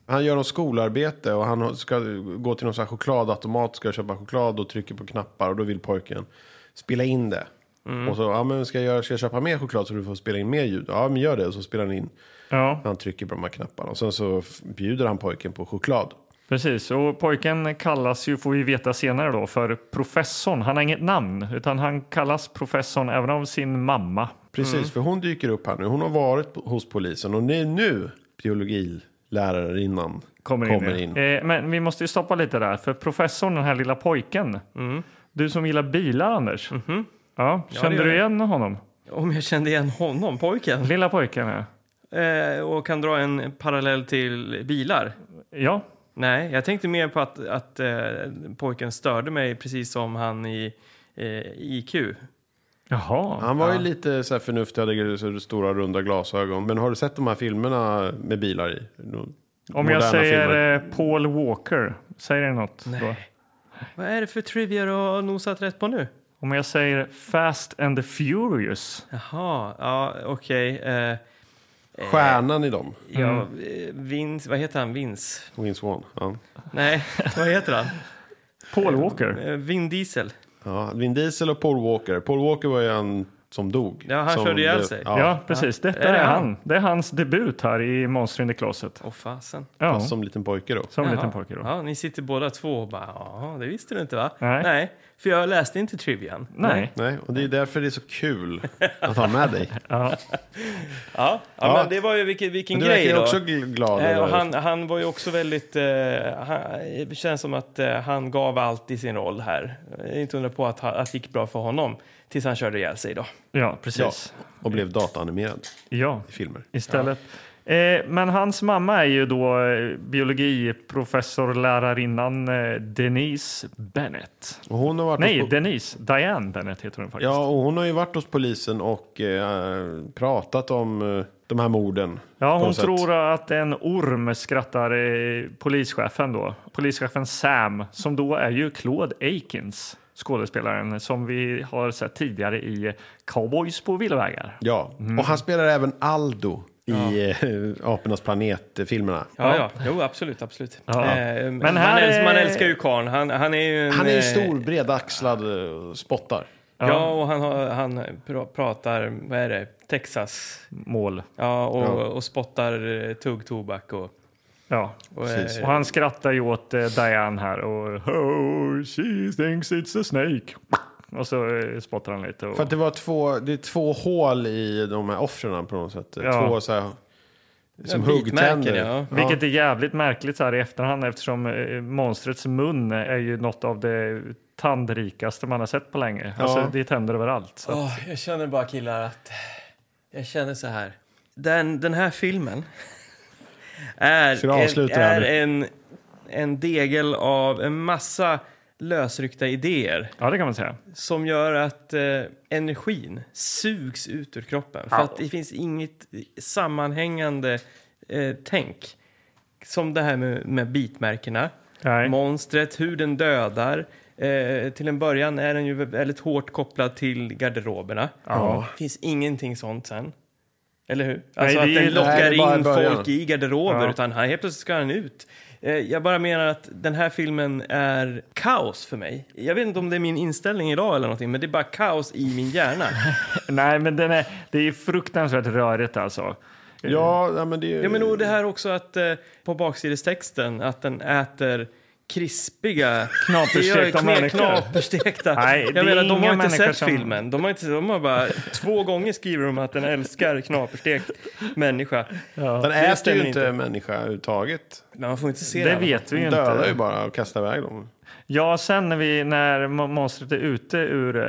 Han gör något skolarbete och han ska gå till någon sån här chokladautomat, ska köpa choklad och trycker på knappar och då vill pojken spela in det. Mm. Och så, ja men ska jag, göra- ska jag köpa mer choklad så du får spela in mer ljud? Ja men gör det. Och så spelar han in, Ja, han trycker på de här knapparna. Och sen så f- bjuder han pojken på choklad. precis. Och pojken kallas ju, får vi veta senare då, för professorn. Han har inget namn, utan han kallas professorn även av sin mamma. Precis, Mm. för hon dyker upp här nu. Hon har varit på- hos polisen och det är nu biologilärarinnan Kommer in. kommer in. Eh, men vi måste ju stoppa lite där, för professorn, den här lilla pojken. Du som gillar bilar, Anders. Ja, kände gör du jag. igen honom? Om jag kände igen honom, pojken. Lilla pojken, ja. Eh, och kan dra en parallell till bilar. Ja, Nej, jag tänkte mer på att, att eh, pojken störde mig precis som han i eh, IQ. Jaha. Han var ju lite så här förnuftig, hade så stora runda glasögon. Men har du sett de här filmerna med bilar i? De Om moderna jag filmer. säger eh, Paul Walker, säger det något? Då? Vad är det för trivia du har nosat rätt på nu? Om jag säger Fast and the Furious? Jaha, ja okej. Eh, Stjärnan i dem, ja, eh, Vince, vad heter han? Vince? Vince Vaughn. Ja. Nej, vad heter han? Paul Walker? Eh, Vin Diesel. Ja, Vin Diesel och Paul Walker. Paul Walker var ju en som dog. Ja, han som körde ihjäl blev- sig. Ja, Ja, precis. Detta Är är, det han? han. Det är hans debut här i Monster in the Closet. Åh fasen. Ja, Som liten pojke då. som en liten Jaha. pojke då. Ja, ni sitter båda två och bara, ja, det visste du inte va? Nej. för jag läste inte trivian. Nej. Nej, och det är därför det är så kul att ha med dig. Ja, ja, Ja. men det var ju vilken, vilken Men du verkar grej ju då. också gl- glad. Eh, och över- han, han var ju också väldigt... Eh, han, det känns som att eh, han gav allt i sin roll här. Eh, Inte undra på att, ha- att det gick bra för honom tills han körde ihjäl sig då. Ja, ja, precis. och blev dataanimerad Ja, i filmer. istället. Eh, men hans mamma är ju då eh, biologiprofessor, lärarinnan eh, Denise Bennett. Och hon har varit Nej, hos- Denise. Diane Bennett heter hon faktiskt. Ja, och hon har ju varit hos polisen och eh, pratat om eh, de här morden. Ja, på hon något sätt. tror att en orm skrattar eh, polischefen då. Polischefen Sam, som då är ju Claude Akins, skådespelaren som vi har sett tidigare i Cowboys på villovägar. Ja, Mm. och han spelar även Aldo i eh, Apornas planet-filmerna. Ja, ja. Jo, absolut, absolut. Ja. Eh, Men man, här älskar, man är- älskar ju karln. Han, han är ju en, Han är ju eh, stor, bredaxlad eh, och spottar. Ja, och han, har- han pra- pratar, vad är det, Texas. Mål. Ja, och, och spottar eh, tuggtobak och... Ja. och Precis. eh, Och han skrattar ju åt eh, Diane här och oh, she thinks it's a snake. Och så eh, spottar han lite. Och, För att det var två, det är två hål i de här offren på något sätt. Ja. Två så här, som bitmärken, huggtänder. ja. Vilket är jävligt märkligt så här i efterhand eftersom eh, monstrets mun är ju något av det tandrikaste man har sett på länge. Alltså, det är tänder överallt. Så. Åh, jag känner bara killar att... Jag känner så här. Den, den här filmen är, du en, avsluta det här är nu? en, en degel av en massa lösryckta idéer Ja, det kan man säga. som gör att eh, energin sugs ut ur kroppen. För att det finns inget sammanhängande eh, tänk. Som det här med, med bitmärkena. Nej. Monstret, hur den dödar. Eh, till en början är den ju väldigt hårt kopplad till garderoberna. Det finns ingenting sånt sen. Eller hur? Alltså det att är den ju- Nej, det lockar är bara in början. folk i garderober Ja. utan han, helt plötsligt ska han ut. Eh, Jag bara menar att den här filmen är kaos för mig. Jag vet inte om det är min inställning idag eller någonting men det är bara kaos i min hjärna. Nej, men den är, det är ju fruktansvärt rörigt alltså. Ja, ja, men det är ja, men och det här också att eh, på baksidestexten att den äter krispiga... Knaperstekta Det gör- kna- människor. Knaperstekta. Nej, det är jag menar, de inga har inte människor sett som- filmen. De har, inte, de har bara... Två gånger skriver de att den älskar knaperstekt människa. Den det äter stämmer ju inte inte. människa överhuvudtaget. Men man får inte se Det va? vet vi ju Den dödar ju inte. bara och kastar iväg dem. Ja, sen när, vi, när mo- monstret är ute ur eh,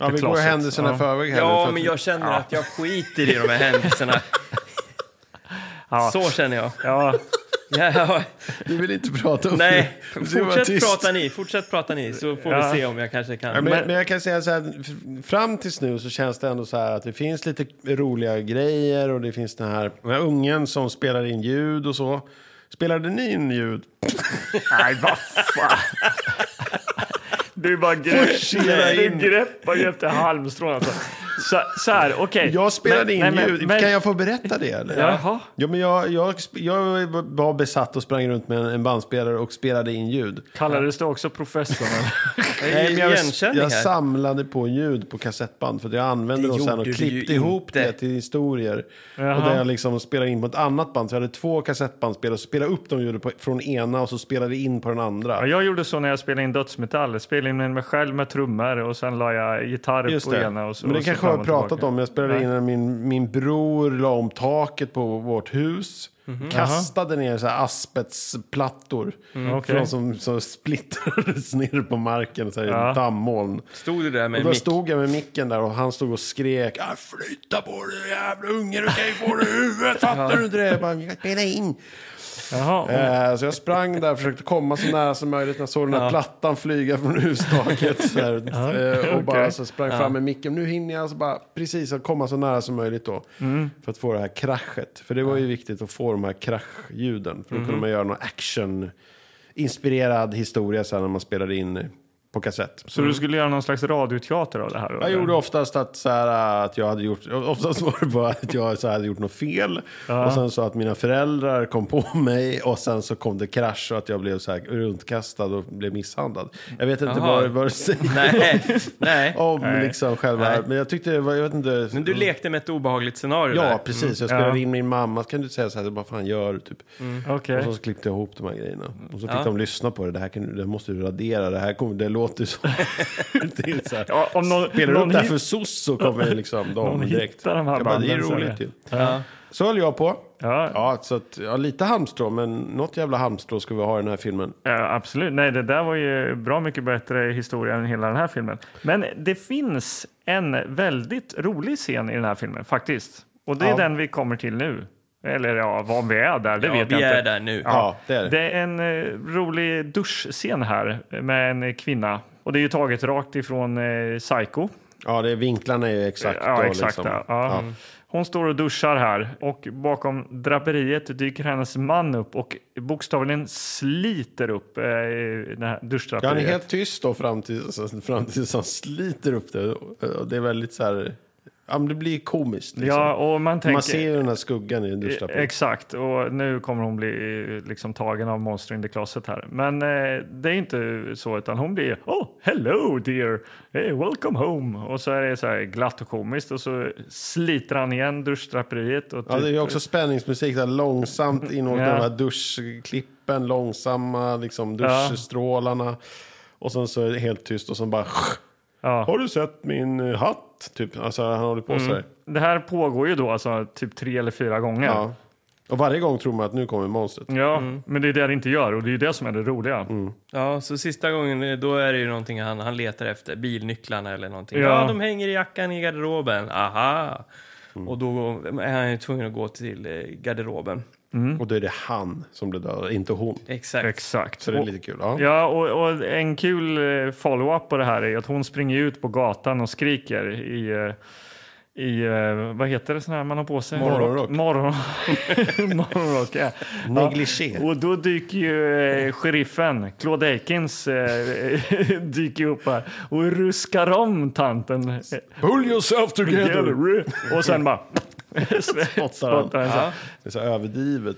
Ja, vi the går closet. händelserna i förväg här nu, för Ja, att- men jag känner att jag skiter i de här händelserna. Ja. Så känner jag. Ja, Ja, ja. Du vill inte prata om Nej, det. Du var fortsätt tyst. prata ni, fortsätt prata ni så får Ja. vi se om jag kanske kan. Ja, Men, men jag kan säga så här, f- fram tills nu så känns det ändå så här att det finns lite roliga grejer och det finns den här, den här ungen som spelar in ljud och så. Spelade ni in ljud? nej, vad fan. Du bara grepp, Forcera du in. greppar ju efter halmstrån. Alltså. Så, så här, okej. Jag spelade Men- in nej, men- ljud. men- Kan jag få berätta det? Eller? Jaha. Ja, men jag, jag, sp- jag var besatt och sprang runt med en, en bandspelare och spelade in ljud. Kallades det också professorn? eller? Nej, men jag, jag, igenkänning jag här. samlade på ljud på kassettband för att jag använde Det dem sen gjorde och du klippte ju ihop inte. det till historier. Och Jaha. där jag liksom spelade in på ett annat band. Så jag hade två kassettbandspelare och spelade upp de ljuden på, från ena och så spelade in på den Ja, andra. jag gjorde så när jag spelade in dödsmetall. Jag Spelade in mig själv med trummor och sen la jag gitarr Just på det. ena. Och så, Men det och så kanske fram jag har och pratat tillbaka. om. Jag spelade in när min, min bror la om taket på vårt hus. Mhm. Kastade ner så här asbestplattor. Mm, okej. Från som, som splittrades ner på marken så här, Ja. i dammoln. Stod du där med Och då mick? stod jag med micken där och han stod och skrek "Ah, Flytta på dig jävla unge, du kan ju få det i huvudet, fattar du inte det? Jag bara, "Jag spelar in. Jaha. Eh, så jag sprang där, försökte komma så nära som möjligt. Jag såg den här plattan flyga från hustaket. Så här, eh, och bara okej. så sprang fram med micken. Nu hinner jag så bara, precis att komma så nära som möjligt då. För att få det här kraschet. För det var ju viktigt att få de här kraschljuden. För då kunde man göra någon action, inspirerad historia sen när man spelade in på kassett. Så du skulle göra någon slags radioteater av det här? Jag gjorde oftast att, så här, att jag hade gjort, oftast var det bara att jag så här, hade gjort något fel. Och sen så att mina föräldrar kom på mig och sen så kom det krasch och att jag blev så här runtkastad och blev misshandlad. Jag vet inte Jaha. vad, det- vad det säger Nej, nej. om liksom själva, Nej. men jag tyckte det var, jag vet inte. Men du lekte med ett obehagligt scenario där. Mm. Ja, precis. Jag spelade Ja. in min mamma, kan du säga så här, vad fan gör du? Typ. Okej. Och så klippte jag ihop de här grejerna. Och så fick Ja. de lyssna på det, det här, kan, du- det här måste du radera, det här kommer, det låter ju så. det är så här. Ja, om någon, Spelar du någon upp det här hit- för soss så kommer ju liksom de Någon direkt. hittar de här jag bara, det är banden, roligt säger ju. Så höll jag på. Ja. Ja, så att, ja, lite halmstrå, men något jävla halmstrå ska vi ha i den här filmen. Ja, absolut. Nej, det där var ju bra mycket bättre historia än hela den här filmen. Men det finns en väldigt rolig scen i den här filmen faktiskt. Och det är Ja. den vi kommer till nu. Eller ja, vad vi är där, det Ja, vet vi jag är inte. där nu. Ja, det är det. Det är en eh, rolig duschscen här med en eh, kvinna. Och det är ju taget rakt ifrån eh, Psycho. Ja, det är, vinklarna är ju exakt Ja, då. exakt. liksom. ja. Ja. Ja. Mm. Hon står och duschar här och bakom draperiet dyker hennes man upp och bokstavligen sliter upp eh, det här Ja, han är duschdraperiet. helt tyst då fram tills fram tills han sliter upp det. Och det är väldigt så här... Ja, men det blir komiskt. Liksom. Ja, och man tänker... Eh, Man ser ju den här skuggan i duschdraperiet. Exakt, och nu kommer hon bli eh, liksom tagen av Monster in the Closet här. Men eh, det är inte så, utan hon blir Oh, hello dear, hey, welcome home. Och så är det så här glatt och komiskt och så sliter han igen duschdraperiet. Och Ja, det är typ- ju också spänningsmusik. Där långsamt in och Ja. de här duschklippen, långsamma liksom, Ja. duschstrålarna. Och sen så är det helt tyst och sen bara... Ja. Har du sett min eh, hatt? Typ. Alltså, han håller på sådär. Det här pågår ju då alltså typ tre eller fyra gånger. Ja. Och varje gång tror man att nu kommer monstret. Ja, men det är det det inte gör och det är ju det som är det roliga. Ja, så sista gången, eh, då är det ju någonting han, han letar efter. Bilnycklarna eller någonting. Ja. Ja. de hänger i jackan i garderoben. Aha! Mm. Och då är han ju tvungen att gå till eh, garderoben. Och då är det han som blir dödad, inte hon. Exakt. Exakt. Så det är Och- lite kul. Ja. Ja, och, och en kul eh, follow-up på det här är att hon springer ut på gatan och skriker i, eh, i eh, vad heter det sån här man har på sig? Morgonrock. Morgon... Morgonrock, ja. Negligé. Ja, och då dyker ju eh, sheriffen, Claude Akins, eh, dyker upp här och ruskar om tanten. Pull yourself together! Och sen bara... Spottar han. Ja. Det är så överdrivet.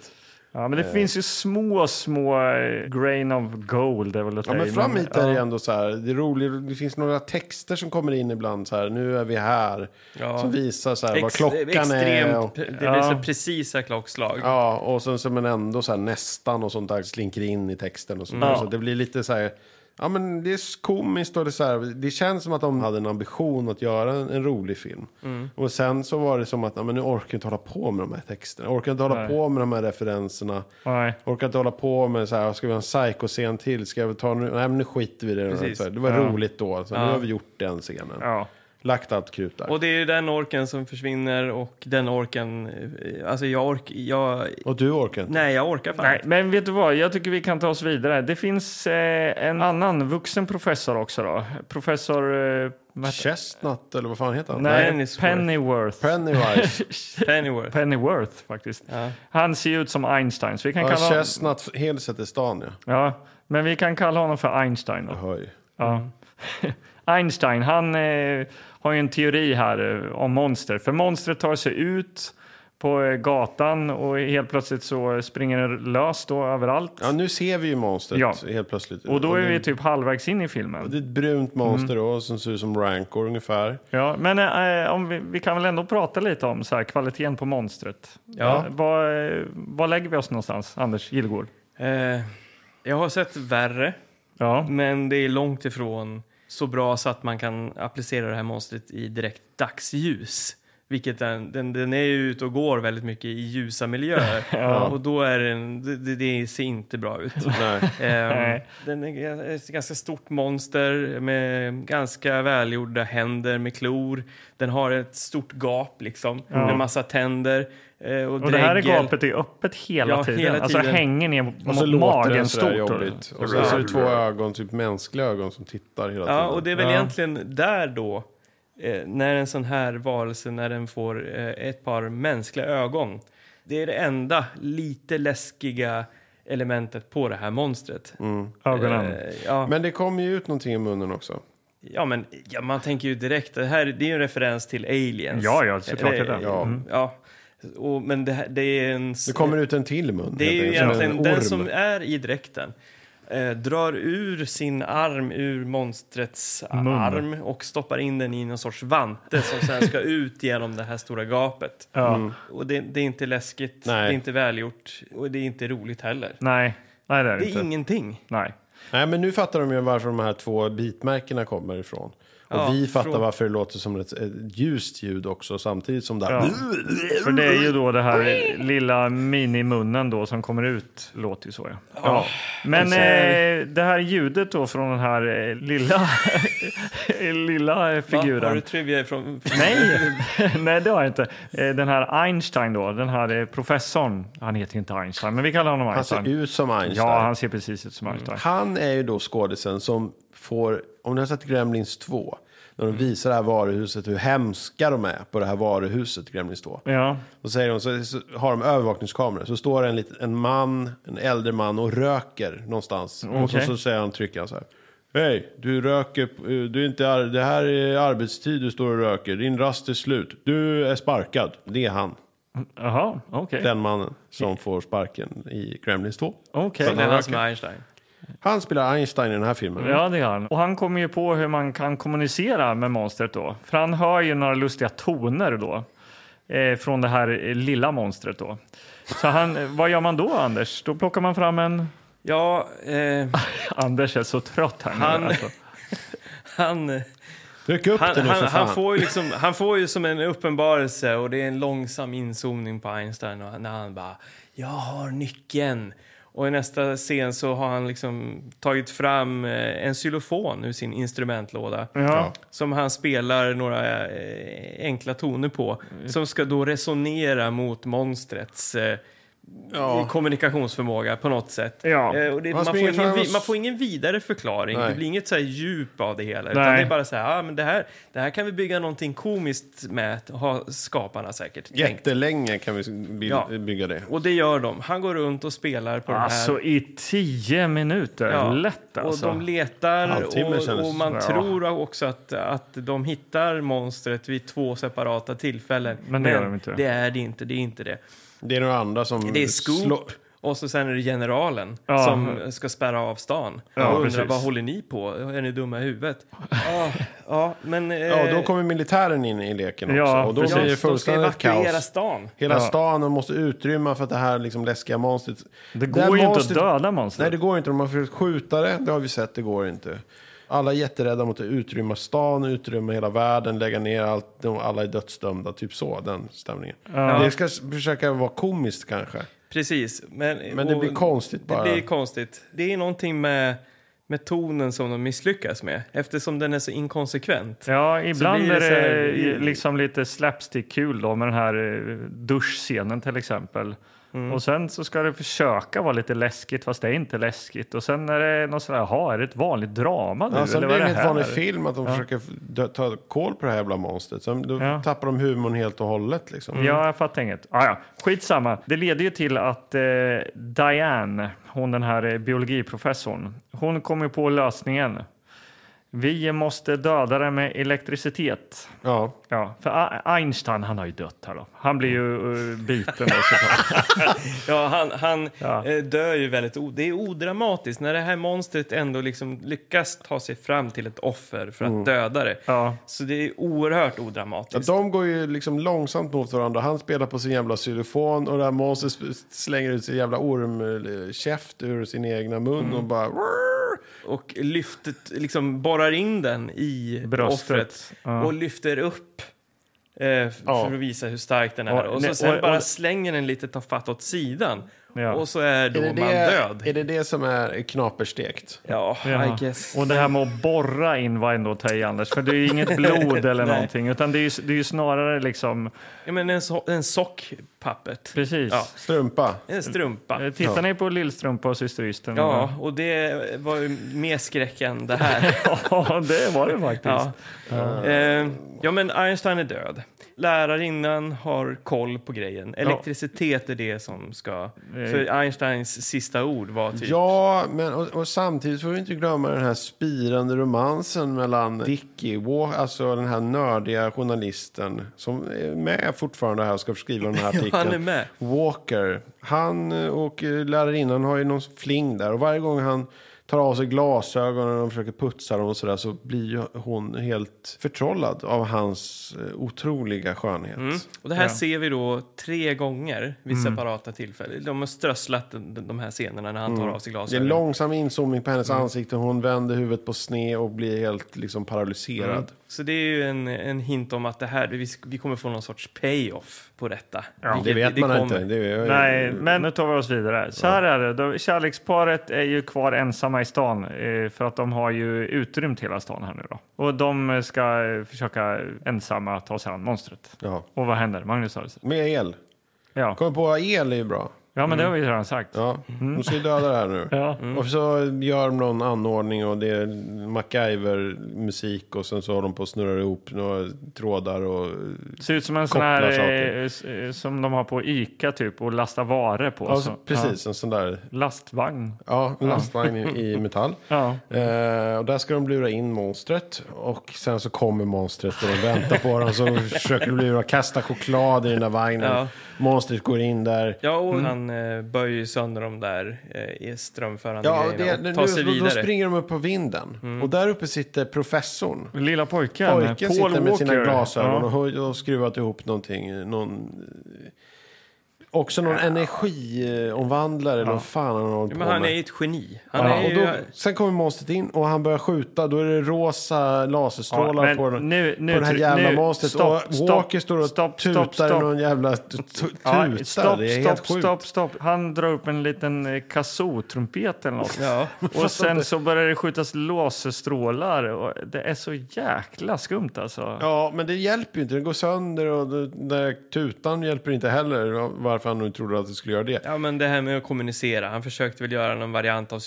Ja, men det Eh. finns ju små, små eh, grain of gold. Är väl att Ja, men säga, fram hit är det ja. ändå så här, det är roligt, det finns några texter som kommer in ibland så här, nu är vi här, Ja. som visar så här vad Ex- klockan är. extremt, Och, Det blir så Ja. precisa klockslag. ja, och sen så men ändå så här nästan och sånt där slinker in i texten och sånt där. Ja. Så det blir lite så här, ja men det är komiskt och det är så här, det känns som att de hade en ambition att göra en, en rolig film. Mm. Och sen så var det som att, ja men nu orkar jag inte hålla på med de här texterna, jag orkar inte hålla Nej. på med de här referenserna. Nej. Orkar inte hålla på med så här, ska vi ha en psykoscen till? Ska vi ta nu? Nej, men nu skiter vi i det. Precis. Så här, Det var Ja. roligt då, så nu har vi gjort den scenen. Ja. Lagt allt krut där. Och Och, det är ju den orken som försvinner och den orken... eh, Alltså jag ork... Jag, du orkar inte? nej, jag orkar fan Nej, inte. men vet du vad? Jag tycker vi kan ta oss vidare. Det finns eh, en annan vuxen professor också då. Professor... Eh, vad heter- Chestnut, eller vad fan heter han? nej, Pennyworth. Pennyworth. Pennywise. Pennyworth. Pennyworth faktiskt. Han ser ju ut som Einstein, så vi kan ja, kalla honom... Chestnut, Helseth i stan ja. Ja, men vi kan kalla honom för Einstein då. Jag hör ju. Ja. Einstein, han eh, har ju en teori här eh, om monster. För monstret tar sig ut på eh, gatan och helt plötsligt så springer det lös då överallt. Ja, nu ser vi ju monstret Ja. helt plötsligt. och då är det, vi typ halvvägs in i filmen. det är ett brunt monster Mm. då, som ser ut som Rancor ungefär. Ja, men eh, om vi, vi kan väl ändå prata lite om så här, kvaliteten på monstret. Ja. Eh, Var, eh, var lägger vi oss någonstans, Anders Gillgård? Eh, jag har sett värre, Ja. men det är långt ifrån så bra så att man kan applicera det här monstret i direkt dagsljus. Vilket den, den, den är ju ute och går väldigt mycket i ljusa miljöer. Och då är den, det- det, det ser inte bra ut. Nej. Ehm, Nej. den är ett ganska stort monster med ganska välgjorda händer med klor. Den har ett stort gap liksom, med massa tänder. eh, och, Och det här är dregel. gapet är öppet hela, Ja, tiden. hela Alltså tiden. hänger ner Och så mot låter det magen sådär stort. jobbigt. Och så är det två ögon, typ mänskliga ögon som tittar hela tiden. Ja, och det är väl Ja. egentligen där då, eh, när en sån här varelse, när den får eh, ett par mänskliga ögon. Det är det enda lite läskiga elementet på det här monstret. Ögonen. Eh, ja, Men det kommer ju ut någonting i munnen också. ja, men ja, man tänker ju direkt, det här det är ju en referens till aliens. Ja, ja, såklart Eller, är det. Mm. Ja. Ja, och, men det, här- det är en... Det kommer ut en till mun. Det helt är ju enkelt, som egentligen en den orm. som är i dräkten. Eh, drar ur sin arm ur monstrets arm och stoppar in den i någon sorts vante som sen ska ut genom det här stora gapet. Ja. Och det, det är inte läskigt, Mm. Nej. det är inte välgjort och det är inte roligt heller. Nej. Nej, det är det Det inte. är ingenting. Nej. Nej, men nu fattar de ju varför de här två bitmärkena kommer ifrån. Och Ja, vi fattar från- varför det låter som ett, ett ljust ljud också, samtidigt som det här... Ja. För det är ju då det här lilla minimunnen då som kommer ut, låter ju så ja. ja. Men eh, det här ljudet då från den här eh, lilla, lilla eh, Va? Har du figuren. trivia ifrån... Nej, nej det har jag inte. Eh, Den här Einstein då, den här eh, professorn, han heter ju inte Einstein, men vi kallar honom Han Einstein. ser ut som Einstein. Mm. Ja, han... han ser precis ut som Einstein. är ju då skådisen som får... Om ni har sett Gremlins 2, när de visar det här varuhuset, hur hemska de är på det här varuhuset, Gremlins 2. Ja, Då säger de, så, så har de övervakningskameror. Så står det en, lit- en man, en äldre man och röker någonstans. Och så, Okej. så säger han, trycker han så här. Hej, du röker, p- du är inte, ar- det här är arbetstid du står och röker. Din rast är slut. Du är sparkad. Det är han, jaha, okej. den mannen som får sparken i Gremlins 2. Okej. Det är han som är Einstein. Han spelar Einstein i den här filmen. Mm. Ja, det gör han. Och han kommer ju på hur man kan kommunicera med monstret då. För han hör ju några lustiga toner då. Eh, från det här eh, lilla monstret då. Så han, eh, vad gör man då, Anders? Då plockar man fram en... Ja, eh, Anders är så trött här nu. Han- Alltså. han... Tryck upp Han, den nu för han, fan. han, får ju liksom, han får ju som en uppenbarelse och det är en långsam inzoomning på Einstein och när han bara “Jag har nyckeln” och i nästa scen så har han liksom tagit fram eh, en xylofon ur sin instrumentlåda Ja. som han spelar några eh, enkla toner på som ska då resonera mot monstrets eh, kommunikationsförmåga på något sätt. Ja. Eh, och det, Han man, får springer ingen, fram och vi- s- man får ingen vidare förklaring. Nej. Det blir inget så här djup av det hela. Nej. Utan det är bara så här, ah, men det här, det här kan vi bygga någonting komiskt med, har skaparna säkert tänkt. Jättelänge kan vi by- Ja. bygga det. Och det gör de. Han går runt och spelar på den Alltså här. i tio minuter, Ja. lätt alltså. Och de letar Halvtimme och, kändes- och man Ja. tror också att, att de hittar monstret vid två separata tillfällen. Men det gör de inte. det är det inte. Det är inte det. Det är några andra som... Det är Scoop slå- och så sen är det generalen Ja. som ska spärra av stan. Ja, och undrar precis. vad håller ni på? Är ni dumma i huvudet? ja, ja, men... eh, Ja, då kommer militären in i leken Ja, också. Och då precis. blir det de ska fullständigt evakuera kaos. stan. Hela Ja. stan och måste utrymma för att det här liksom läskiga monstret... här Det går ju inte att monstret- döda Nej, monstret. det går inte. De har försökt skjuta det. Det har vi sett, det går inte. Alla är jätterädda mot att utrymma stan, utrymma hela världen, lägga ner allt. De- Alla är dödsdömda, typ så, den stämningen. Det ska s- försöka vara komiskt kanske. Precis. Men, Men det och blir konstigt bara. Det blir konstigt. Det är någonting med, med tonen som de misslyckas med eftersom den är så inkonsekvent. Ja, ibland blir det är så det här- eh, liksom lite slapstick-kul då med den här eh, duschscenen till exempel. Och sen så ska det försöka vara lite läskigt fast det är inte läskigt. Och sen är det något sådär, jaha, är det ett vanligt drama nu? Ja, sen eller blir vad det är en det helt vanlig här? film att de försöker f- dö- ta koll på det här jävla monstret. Sen då Ja. tappar de humorn helt och hållet liksom. Ja, jag fattar inget. Ah, ja. Skitsamma. Det leder ju till att eh, Diane, hon den här eh, biologiprofessorn, hon kommer på lösningen. Vi måste döda det med elektricitet. Ja. Ja, för A- Einstein han har ju dött här då. Han blir ju eh, biten. då, såklart. Ja, han han Ja. Eh, dör ju väldigt... O- det är odramatiskt när det här monstret ändå liksom lyckas ta sig fram till ett offer för att döda det. Mm. Ja. Så det är oerhört Ja, odramatiskt. de går ju liksom långsamt mot varandra. Han spelar på sin jävla xylofon och det här monstret sp- slänger ut sin jävla ormkäft ur sin egna mun och bara... Och lyftet, liksom borrar in den i Bröstet. offret Ja. och lyfter upp eh, f- Ja. för att visa hur stark den är. Ja, Och nej, så sen och- bara och- slänger den lite tafatt åt sidan Ja. Och så är då Är det, man död. det, är det det som är knaperstekt? Ja, Ja. I guess. Och det här med att borra in var ändå att ta i, Anders. För det är ju inget blod eller Nej. någonting, utan det är ju, det är ju snarare liksom... Ja, men en, so en sockpuppet. Precis. Ja. Strumpa. En strumpa. Eh, Tittar ni på Lillstrumpa och Syster Ystern? Ja, Mm. och det var ju mer skräck än det här. Ja, det var det faktiskt. Ja. Eh, ja, men Einstein är död. Lärarinnan har koll på grejen. Elektricitet är det som ska... För Einsteins sista ord var typ... Eh. Ja, men och, och samtidigt får vi inte glömma den här spirande romansen mellan Dickie, Wa- alltså den här nördiga journalisten som är med fortfarande här och ska skriva den här artikeln. han är med. Walker. Han eh, och eh, lärarinnan har ju någon fling där och varje gång han tar av sig glasögonen och försöker putsa dem och sådär så blir ju hon helt förtrollad av hans eh, otroliga skönhet. Och det här ser vi då tre gånger vid Mm. separata tillfällen. De har strösslat de, de här scenerna när han tar av sig Mm. Det är glasögonen. en långsam inzoomning på hennes Mm. ansikte. Hon vänder huvudet på sne och blir helt liksom paralyserad. Så det är ju en, en hint om att det här, vi, vi kommer få någon sorts pay-off på detta. Vilket- Det vet man kommer. inte. Det är, Nej, men nu tar vi oss vidare. Så här är det. De- Kärleksparet är ju kvar ensamma i stan eh, för att de har ju utrymt hela stan här nu då. Och de eh, ska eh, försöka ensamma ta sig an monstret. Ja. Och vad händer? Magnus Södersen. Med el. Ja, Kommer på att el är ju bra. ja men det har vi redan sagt. Mm. Ja, de ska ju döda det här nu. Mm. Ja. Och så gör de någon anordning och det är MacGyver-musik och sen så har de på och snurrar ihop några trådar och... Ser ut som en sån Kopplar här saker. eh, s- eh, som de har på Ica typ och lastar varor på. Ja, så. precis, en sån där Ja. Lastvagn. ja, en lastvagn i- i metall. Ja. Eh, och där ska de lura in monstret och sen så kommer monstret och de väntar på dem så försöker de lura, kasta choklad i den där vagnen. Ja. Monstret går in där. Ja, och han eh, böjer ju sönder de där eh, i strömförande Ja, grejerna det, och nu, tar sig då, då vidare. springer de upp på vinden Mm. och där uppe sitter professorn. Lilla pojken, Pojken Paul sitter med sina Walker. glasögon Ja. och höj- och skruvat ihop någonting. eh, Någon, eh, också någon energiomvandlare eller vad fan han har hållit Ja, på men han är med. ju ett geni. Han Ja, är och ju... då, sen kommer monstret in och han börjar skjuta. Då är det rosa laserstrålar Ja, men på, den, nu- nu på det här tryck- jävla nu- monstret. stopp, och stopp, Walker står och stopp, stopp, tutar i stopp. någon jävla t- t- tuta. Ja, stopp, det är helt stopp, sjukt. stopp, stopp. Han drar upp en liten eh, kazoo-trumpet eller något. Ja. Och sen så börjar det skjutas laserstrålar. Och det är så jäkla skumt alltså. Ja, men det hjälper ju inte. Det går sönder och det- den där tutan hjälper inte heller. Varför han nu trodde att det skulle göra det. Ja, men det här med att kommunicera. Han försökte väl göra någon variant av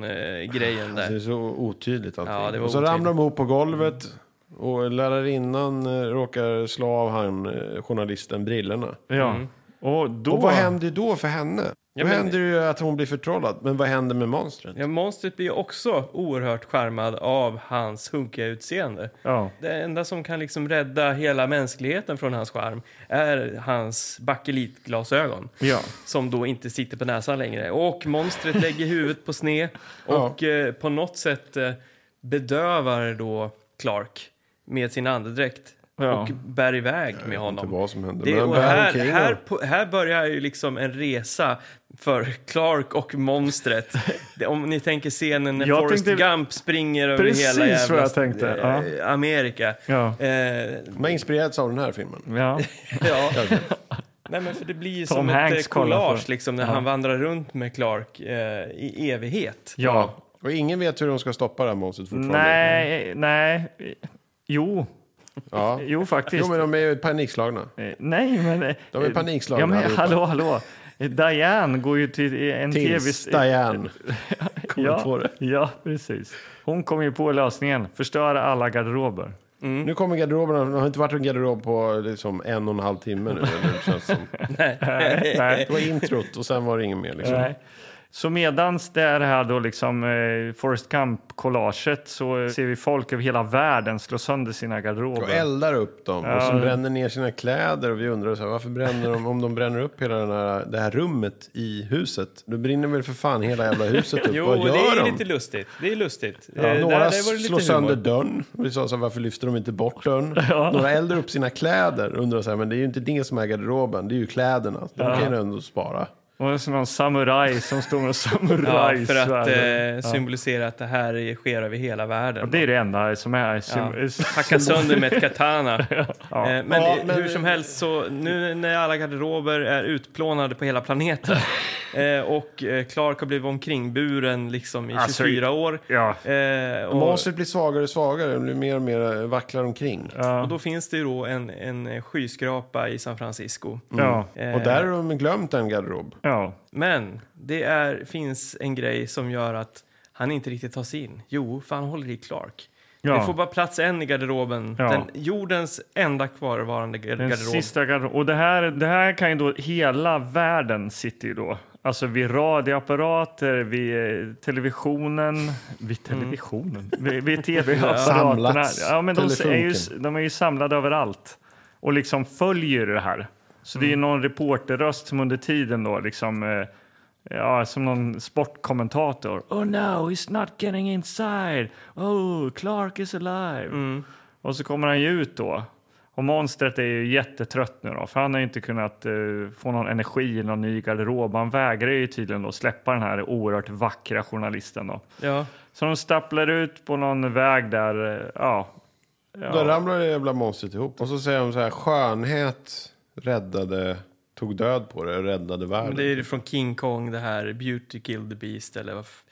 xylofon-grejen Alltså, det är där. så otydligt allting. Ja, det var och så otydligt. ramlar de ihop på golvet. Och lärarinnan eh, råkar slå av han, eh, journalisten brillorna. Ja. Och Mm. då... Och vad händer då för henne? då men- händer ju att hon blir förtrollad. Men vad händer med monstren? Ja, monstret blir ju också oerhört charmad av hans hunkiga utseende. Ja. Det enda som kan liksom rädda hela mänskligheten från hans charm är hans bakelitglasögon. Ja. Som då inte sitter på näsan längre. Och monstret lägger huvudet på sne och eh, på något sätt eh, bedövar då Clark med sin andedräkt. Ja. Och bär iväg med honom. inte vad som händer, Det, men han och bär här, omkring här, honom. på- här börjar ju liksom en resa för Clark och monstret. Det- Om ni tänker scenen när Jag Forrest tänkte- Gump springer över Precis hela jävla vad jag tänkte, ja. eh, Amerika. Ja. Eh, De har inspirerats av den här filmen. Ja. Ja. Nej, men för det blir ju Tom som Hanks ett eh, kollar på- collage liksom, när han vandrar runt med Clark eh, i evighet. ja. Och ingen vet hur de ska stoppa det här monstret fortfarande. Nej, nej. Jo. Ja. Jo, faktiskt. Jo, men de är ju panikslagna. Eh, Nej, men... eh, De är panikslagna Ja, men allihopa. hallå, hallå. Eh, Diane går ju till eh, en Tills tv... Diane kommer ja, på det. ja, precis. Hon kommer ju på lösningen. Förstöra alla garderober. Mm. Nu kommer garderoberna. Det har inte varit en garderob på liksom en och en halv timme nu. Eller, det, känns som. Nej, nej. det var introt och sen var det inget mer. Liksom. Nej. Så medans det är det här då liksom eh, Forrest Gump-collaget så ser vi folk över hela världen slå sönder sina Och garderober. eldar upp dem och så bränner ner sina kläder och vi undrar så här, varför bränner de, om de bränner upp hela den här, det här rummet i huset, då brinner väl för fan hela jävla huset upp. Jo, Vad och det gör är de? lite lustigt. Det är lustigt. Eh, Ja, där- några där var det lite slår humor. sönder dörren. Och vi sa så här, varför lyfter de inte bort dörren? Några eldar upp sina kläder. Undrar så här, men det är ju inte det som är garderoben, det är ju kläderna. De kan ju ändå spara. Och det är som en samuraj som står med Ja, samurajsvärd. för att Ja. eh, symbolisera att det här sker över hela världen. Det är det enda som är... Sim- Hacka sönder med ett katana. Eh, Men, Ja, i- men- hur som helst, så nu när alla garderober är utplånade på hela planeten eh, och eh, Clark har blivit omkringburen liksom i Alltså, 24 år. Ja. eh, Och, Monstret blir svagare och svagare, blir mer och mer vacklar omkring. och då finns det ju då en, en eh, skyskrapa i San Francisco. Ja. Eh, Och där har de glömt en garderob. Ja. Men det är, finns en grej som gör att han inte riktigt tar sig in. Jo, för han håller i Clark. Ja. Det får bara plats en i garderoben. Ja. Den, jordens enda kvarvarande gar- Den garderob. sista garderoben. Och det här, det här kan ju då hela världen sitter ju då. Alltså vid radioapparater, vid eh, televisionen, vid televisionen, vid, vid tv-apparaterna. Samlats. Ja, men de, är ju, Telefunken. de är ju samlade överallt och liksom följer det här. Så det är ju någon reporterröst som under tiden då liksom eh, Ja, som någon sportkommentator. Oh no, he's not getting inside. Oh, Clark is alive. Och så kommer han ju ut då. Och monstret är ju jättetrött nu då, för han har ju inte kunnat eh, få någon energi i någon ny garderob. Han vägrar ju tydligen då släppa den här oerhört vackra journalisten då. Ja. Så de stapplar ut på någon väg där, eh, ja. Då ja. ramlar det jävla monstret ihop. Och så säger de så här, skönhet räddade, tog död på det, räddade världen. Men det är ju från King Kong, det här Beauty Kill the Beast eller vad... f-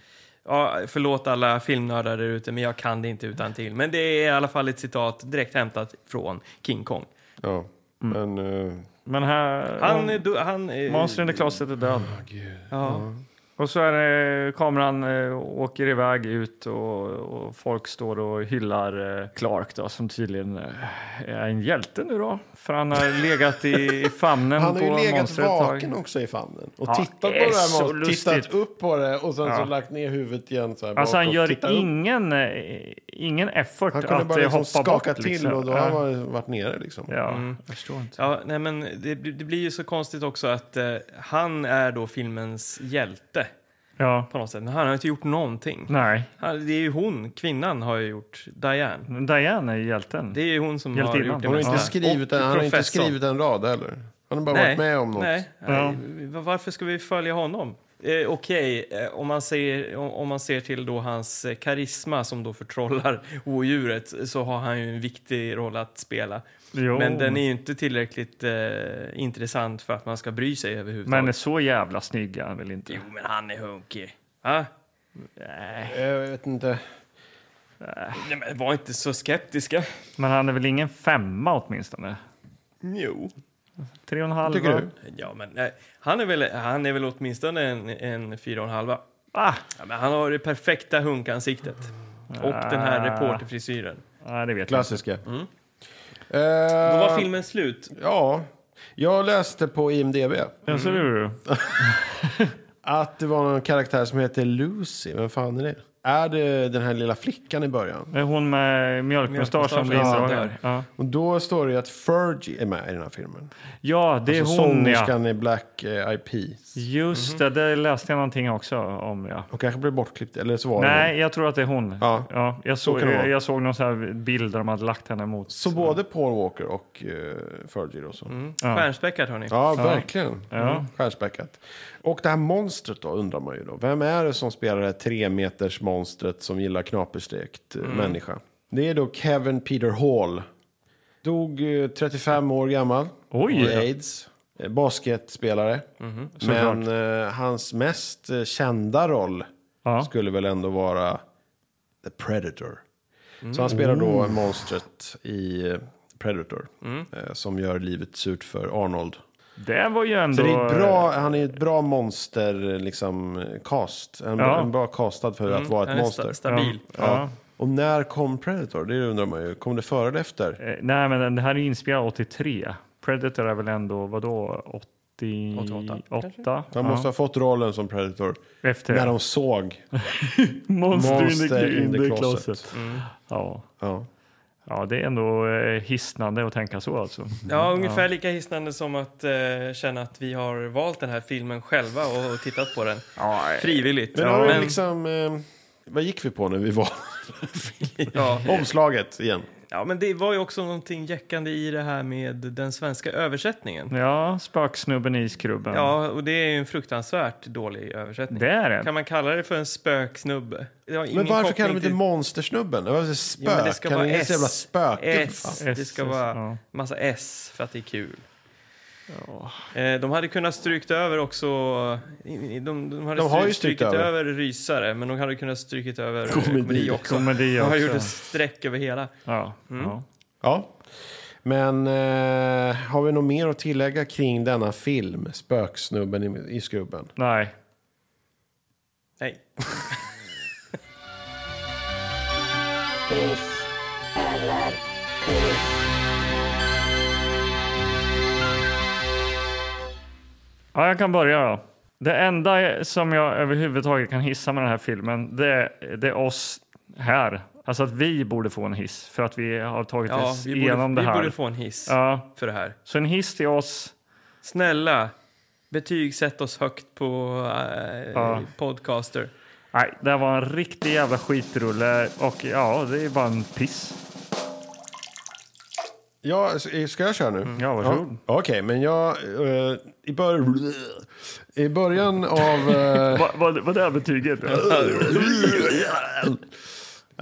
Ja, förlåt alla filmnördar där ute, men jag kan det inte utan till. Men det är i alla fall ett citat direkt hämtat från King Kong. Ja, Mm. men... eh, Men här... Han... är do- han är- Monster in the Closet är död. ja. Och så är det, kameran eh, åker iväg ut och, och folk står och hyllar eh, Clark då, som tydligen eh, är en hjälte nu då. För han har legat i, i famnen Han på har ju legat monstret ett tag. vaken också i famnen. Och Ja, tittat på det det är här så monstret, tittat lustigt. upp på det och sen Ja. så lagt ner huvudet igen så här Alltså han bakåt, tittat gör upp. ingen, eh, ingen effort Han att kunde bara eh, liksom hoppa skaka bort. till liksom. och då har Ja. han varit- varit nere liksom. Ja, Mm. jag förstår inte. Ja, nej men det, det blir ju så konstigt också att eh, han är då filmens hjälte Ja, på något sätt. Men han har inte gjort någonting. nej. Han, det är ju hon, kvinnan, har ju gjort Diane. Men Diane är ju hjälten. Det är ju hon som har Hjältinnan. gjort det Hon har mesta. inte skrivit, Och en, han har inte professorn. skrivit en rad heller. Han har bara varit med om något. Nej, Ja. nej. Varför ska vi följa honom? Eh, Okej, eh, om, man ser, om, om man ser till då hans eh, karisma som då förtrollar odjuret så har han ju en viktig roll att spela. Jo. Men den är ju inte tillräckligt eh, intressant för att man ska bry sig överhuvudtaget. Men är så jävla snygg är han väl inte? Jo, men han är hunkig. Ah? Jag vet inte. Nej, men var inte så skeptiska. Men han är väl ingen femma åtminstone? Jo. Tre och en halv? Tycker va? du? Ja, men nej. Han, är väl, han är väl åtminstone en, en fyra och en halva. Ah, Ja, men han har det perfekta hunkansiktet. Och den Ah. här reporterfrisyren. nej, det vet jag inte. Klassiska. Mm. Då var filmen slut. Ja, jag läste på IMDB Ja, så är Mm. det ju. att det var någon karaktär som heter Lucy. Vem fan är det? Är det den här lilla flickan i början? Det är Hon med mjölkmustasch som Mjölkmustasch, Linda ja. har. Ja. Och då står det ju att Fergie är med i den här filmen. ja, det är Så hon ja. Alltså, sångerskan i Black eh, IP. Just det, det läste jag någonting också om ja. Hon kanske blev bortklippt, eller så var det hon. Nej, jag tror att det är hon. Ja. jag, Så såg, kan det vara. jag, jag såg någon så här bild där de hade lagt henne mot. Så både Paul Walker och eh, Fergie då så. Mm. Stjärnspäckad, hörni. Ja, verkligen. Mm. Stjärnspäckat. Och det här monstret då, undrar man ju då. Vem är det som spelar det här tre meters monstret som gillar knaperstekt eh, människa? Det är då Kevin Peter Hall. Dog eh, 35 år gammal. Oj. Och aids. Eh, Basketspelare. Men eh, hans mest eh, kända roll Ja. skulle väl ändå vara The Predator. Så han spelar då monstret i eh, Predator. Eh, som gör livet surt för Arnold. Det var ju ändå... Så det är ett bra, han är ett bra monster, liksom, cast. En, Ja. Mm. en bra castad för att vara ett Han är sta- monster. stabil. Ja. Ja. Och när kom Predator? Det undrar man ju. Kom det före eller efter? Eh, Nej, men den här är inspelad 83. Predator är väl ändå, vadå, 88? 88, Han måste ha fått rollen som Predator Efter när de såg Monster, Monster in the, in the Closet. Ja. Ja. ja, det är ändå eh, hisnande att tänka så alltså. Ja, ungefär lika hisnande som att eh, känna att vi har valt den här filmen själva och, och tittat på den. Frivilligt. Men, liksom, har vi men- liksom, eh, vad gick vi på när vi var... ja. Omslaget igen. Ja, men det var ju också någonting jäckande i det här med den svenska översättningen. Ja, spöksnubben i iskrubben. Ja, och det är ju en fruktansvärt dålig översättning. Det är det. Kan man kalla det för en spöksnubbe? Det har ingen Men varför koppling kallar de inte till- monstersnubben? Det var så spök. Jo, men det ska kan vara det S. jävla spöke? S. fan? S, Det ska S, vara ja. massa S för att det är kul. Eh, De hade kunnat strykt över också... i- i- De, de, hade De har ju stry- strykt strykit över. över rysare, men de hade kunnat strykit över komedi, Komedi. liksom. komedi också. Komedi De har också. gjort ett streck över hela. Ja, Mm. ja. Ja. Men eh, har vi något mer att tillägga kring denna film? Spöksnubben i, i skrubben. Nej. Nej. Ja, jag kan börja då. Det enda som jag överhuvudtaget kan hissa med den här filmen, det är, det är oss här. Alltså att vi borde få en hiss för att vi har tagit Ja, oss vi igenom borde, vi det här. borde få en hiss Ja, för det här. så en hiss till oss. Snälla, betygsätt oss högt på eh, Ja. Podcaster. Nej, det här var en riktig jävla skitrulle och ja, det är bara en piss. Ja, s- eh, ska jag köra nu? Mm, ja, varsågod. Ja, Okej, men jag... eh, i, bör I början av... eh, Vad va, va det här betyget?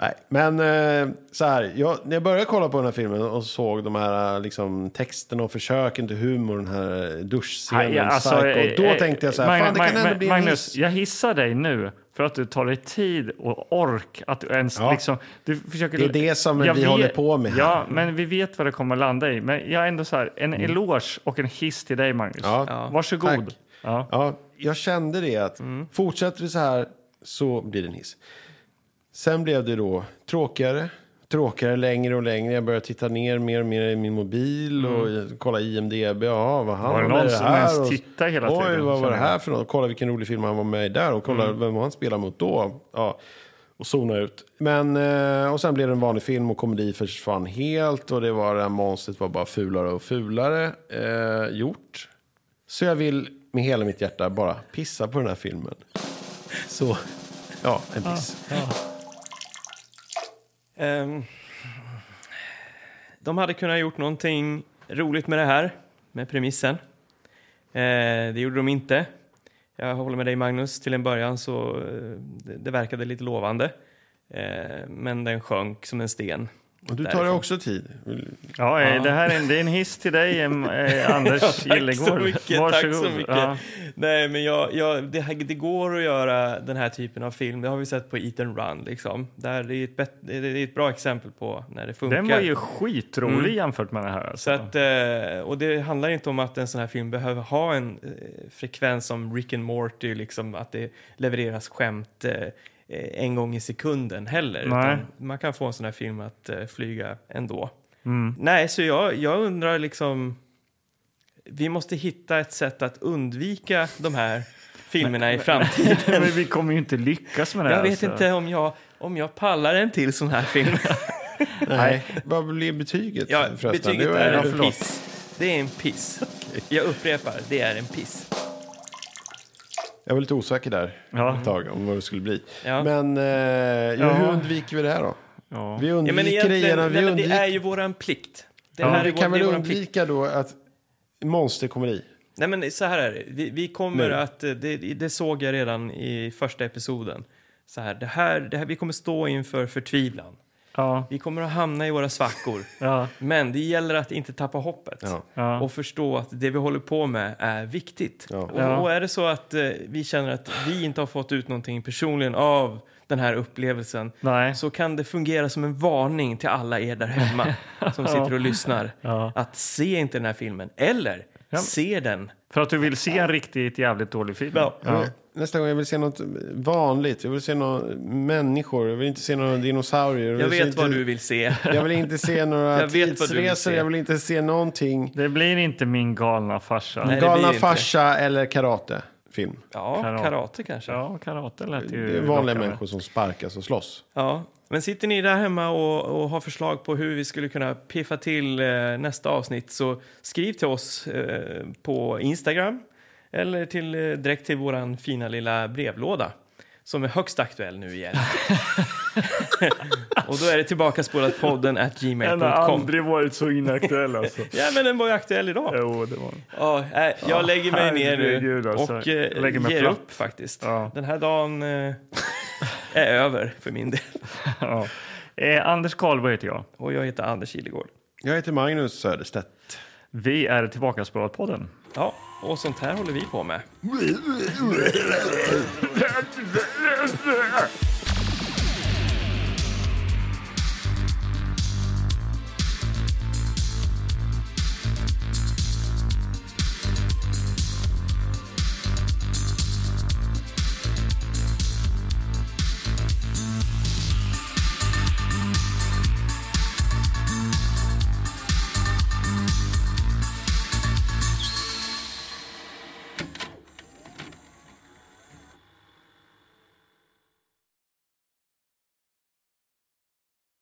Nej, men eh, så här. Jag, när jag började kolla på den här filmen och såg de här eh, liksom, texterna och försöken till humor, den här eh, duschscenen, Nej, alltså, eh, psycho. Då eh, tänkte jag så här, Magnus, fan det kan Magnus, ändå bli en Magnus, hiss. jag hissar dig nu för att du tar dig tid och ork att du ens Ja. liksom... Du försöker, Det är det som vi håller på med här. Ja, men vi vet vad det kommer att landa i. Men jag är ändå så här, en eloge och en hiss till dig, Magnus. Mm. Ja, Ja. Varsågod. tack. Ja. Ja, jag kände det att fortsätter det så här så blir det en hiss. Sen blev det då tråkigare, tråkigare längre och längre. Jag började titta ner mer och mer i min mobil och i- kolla IMDB. Ja, vad han Mm. Var det med i någon som här? ens Och- tittade hela Oj, tiden, vad var känner det jag. Mm. här för något? Kolla vilken rolig film han var med i där och kolla vem han spelar mot då. Ja. Och zona ut. Men, eh, och sen blev det en vanlig film och komedi försvann helt och det var det här monstret var bara fulare och fulare eh, gjort. Så jag vill med hela mitt hjärta bara pissa på den här filmen. Så, ja, en piss. Ehm, de hade kunnat gjort någonting roligt med det här, med premissen. Eh, det gjorde de inte. Jag håller med dig Magnus, till en början så eh, det, det verkade lite lovande. Eh, men den sjönk som en sten. Och du tar Därifrån. det också tid. Ja, eh, Det här är en, det är en hiss till dig, em, eh, Anders Tack Gillegård. så mycket, tack så mycket. Ja. Nej, men jag, jag, det, här- det går att göra den här typen av film, det har vi sett på Eat and Run liksom. Där det, är ett bet- det är ett bra exempel på när det funkar. Mm. Den var ju skitrolig jämfört med det här. Alltså. Så att, eh, och det handlar inte om att en sån här film behöver ha en eh, frekvens som Rick and Morty, liksom att det levereras skämt eh, eh, en gång i sekunden heller. Nej. Utan man kan få en sån här film att eh, flyga ändå. Mm. Nej, så jag, jag undrar liksom, vi måste hitta ett sätt att undvika de här filmerna i framtiden. Men vi kommer ju inte lyckas med det Jag här. alltså. vet inte om jag, om jag pallar en till sån här film. Nej. Vad blev betyget? Ja, förresten? betyget Det var- är ja, en förlåt. piss. Det är en piss. Jag upprepar, det är en piss. Jag var lite osäker där Ja. ett tag om vad det skulle bli. Ja. Men eh, ja, hur undviker vi det här då? Ja. Vi Ja, men undviker det egentligen, genom... nej, Vi, men det undviker, är ju våran plikt. Det Ja, här vi är vår, kan det är väl våran plikt. undvika då att monster kommer i? Nej, men så här är det. Vi, vi kommer Nu. att, eh, det, det såg jag redan i första episoden. Så här, det här, det här, vi kommer stå inför förtvivlan. Ja. Vi kommer att hamna i våra svackor. Ja. Men det gäller att inte tappa hoppet. Ja. Ja. Och förstå att det vi håller på med är viktigt. Ja. Ja. Och, och är det så att eh, vi känner att vi inte har fått ut någonting personligen av den här upplevelsen. Nej. så kan det fungera som en varning till alla er där hemma som sitter och lyssnar. Ja. Att se inte den här filmen, eller Ja. se den. För att du vill se en riktigt jävligt dålig film. Ja. Jag vill- Nästa gång, jag vill se något vanligt. Jag vill se några människor. Jag vill inte se några dinosaurier. Jag vill vet inte, vad du vill se. Jag vill inte se några Jag vet vad du vill tidsresor. se. Jag vill inte se någonting. Det blir inte min galna farsa. Nej. det blir Galna inte. farsa eller karatefilm. Ja, Karate. karate kanske. Ja. Ja, karate lät ju... Det är vanliga lockande. människor som sparkas och slåss. Men sitter ni där hemma och, och har förslag på hur vi skulle kunna piffa till eh, nästa avsnitt så skriv till oss eh, på Instagram eller till, eh, direkt till vår fina lilla brevlåda som är högst aktuell nu igen. Och då är det tillbaka spolat podden at Den har gmail.com. aldrig varit så inaktuell alltså. Ja, men den var ju aktuell idag. Jo, det var den. Ja, nej, jag lägger mig ner herregud, nu alltså. och Jag lägger eh, mig ger platt. upp faktiskt. Ja. Den här dagen eh, är över för min del. Ja. Eh, Anders Karlberg heter jag. Och jag heter Anders Kilegård. Jag heter Magnus Söderstedt. Vi är Tillbakaspårat-podden. Ja, och sånt här håller vi på med.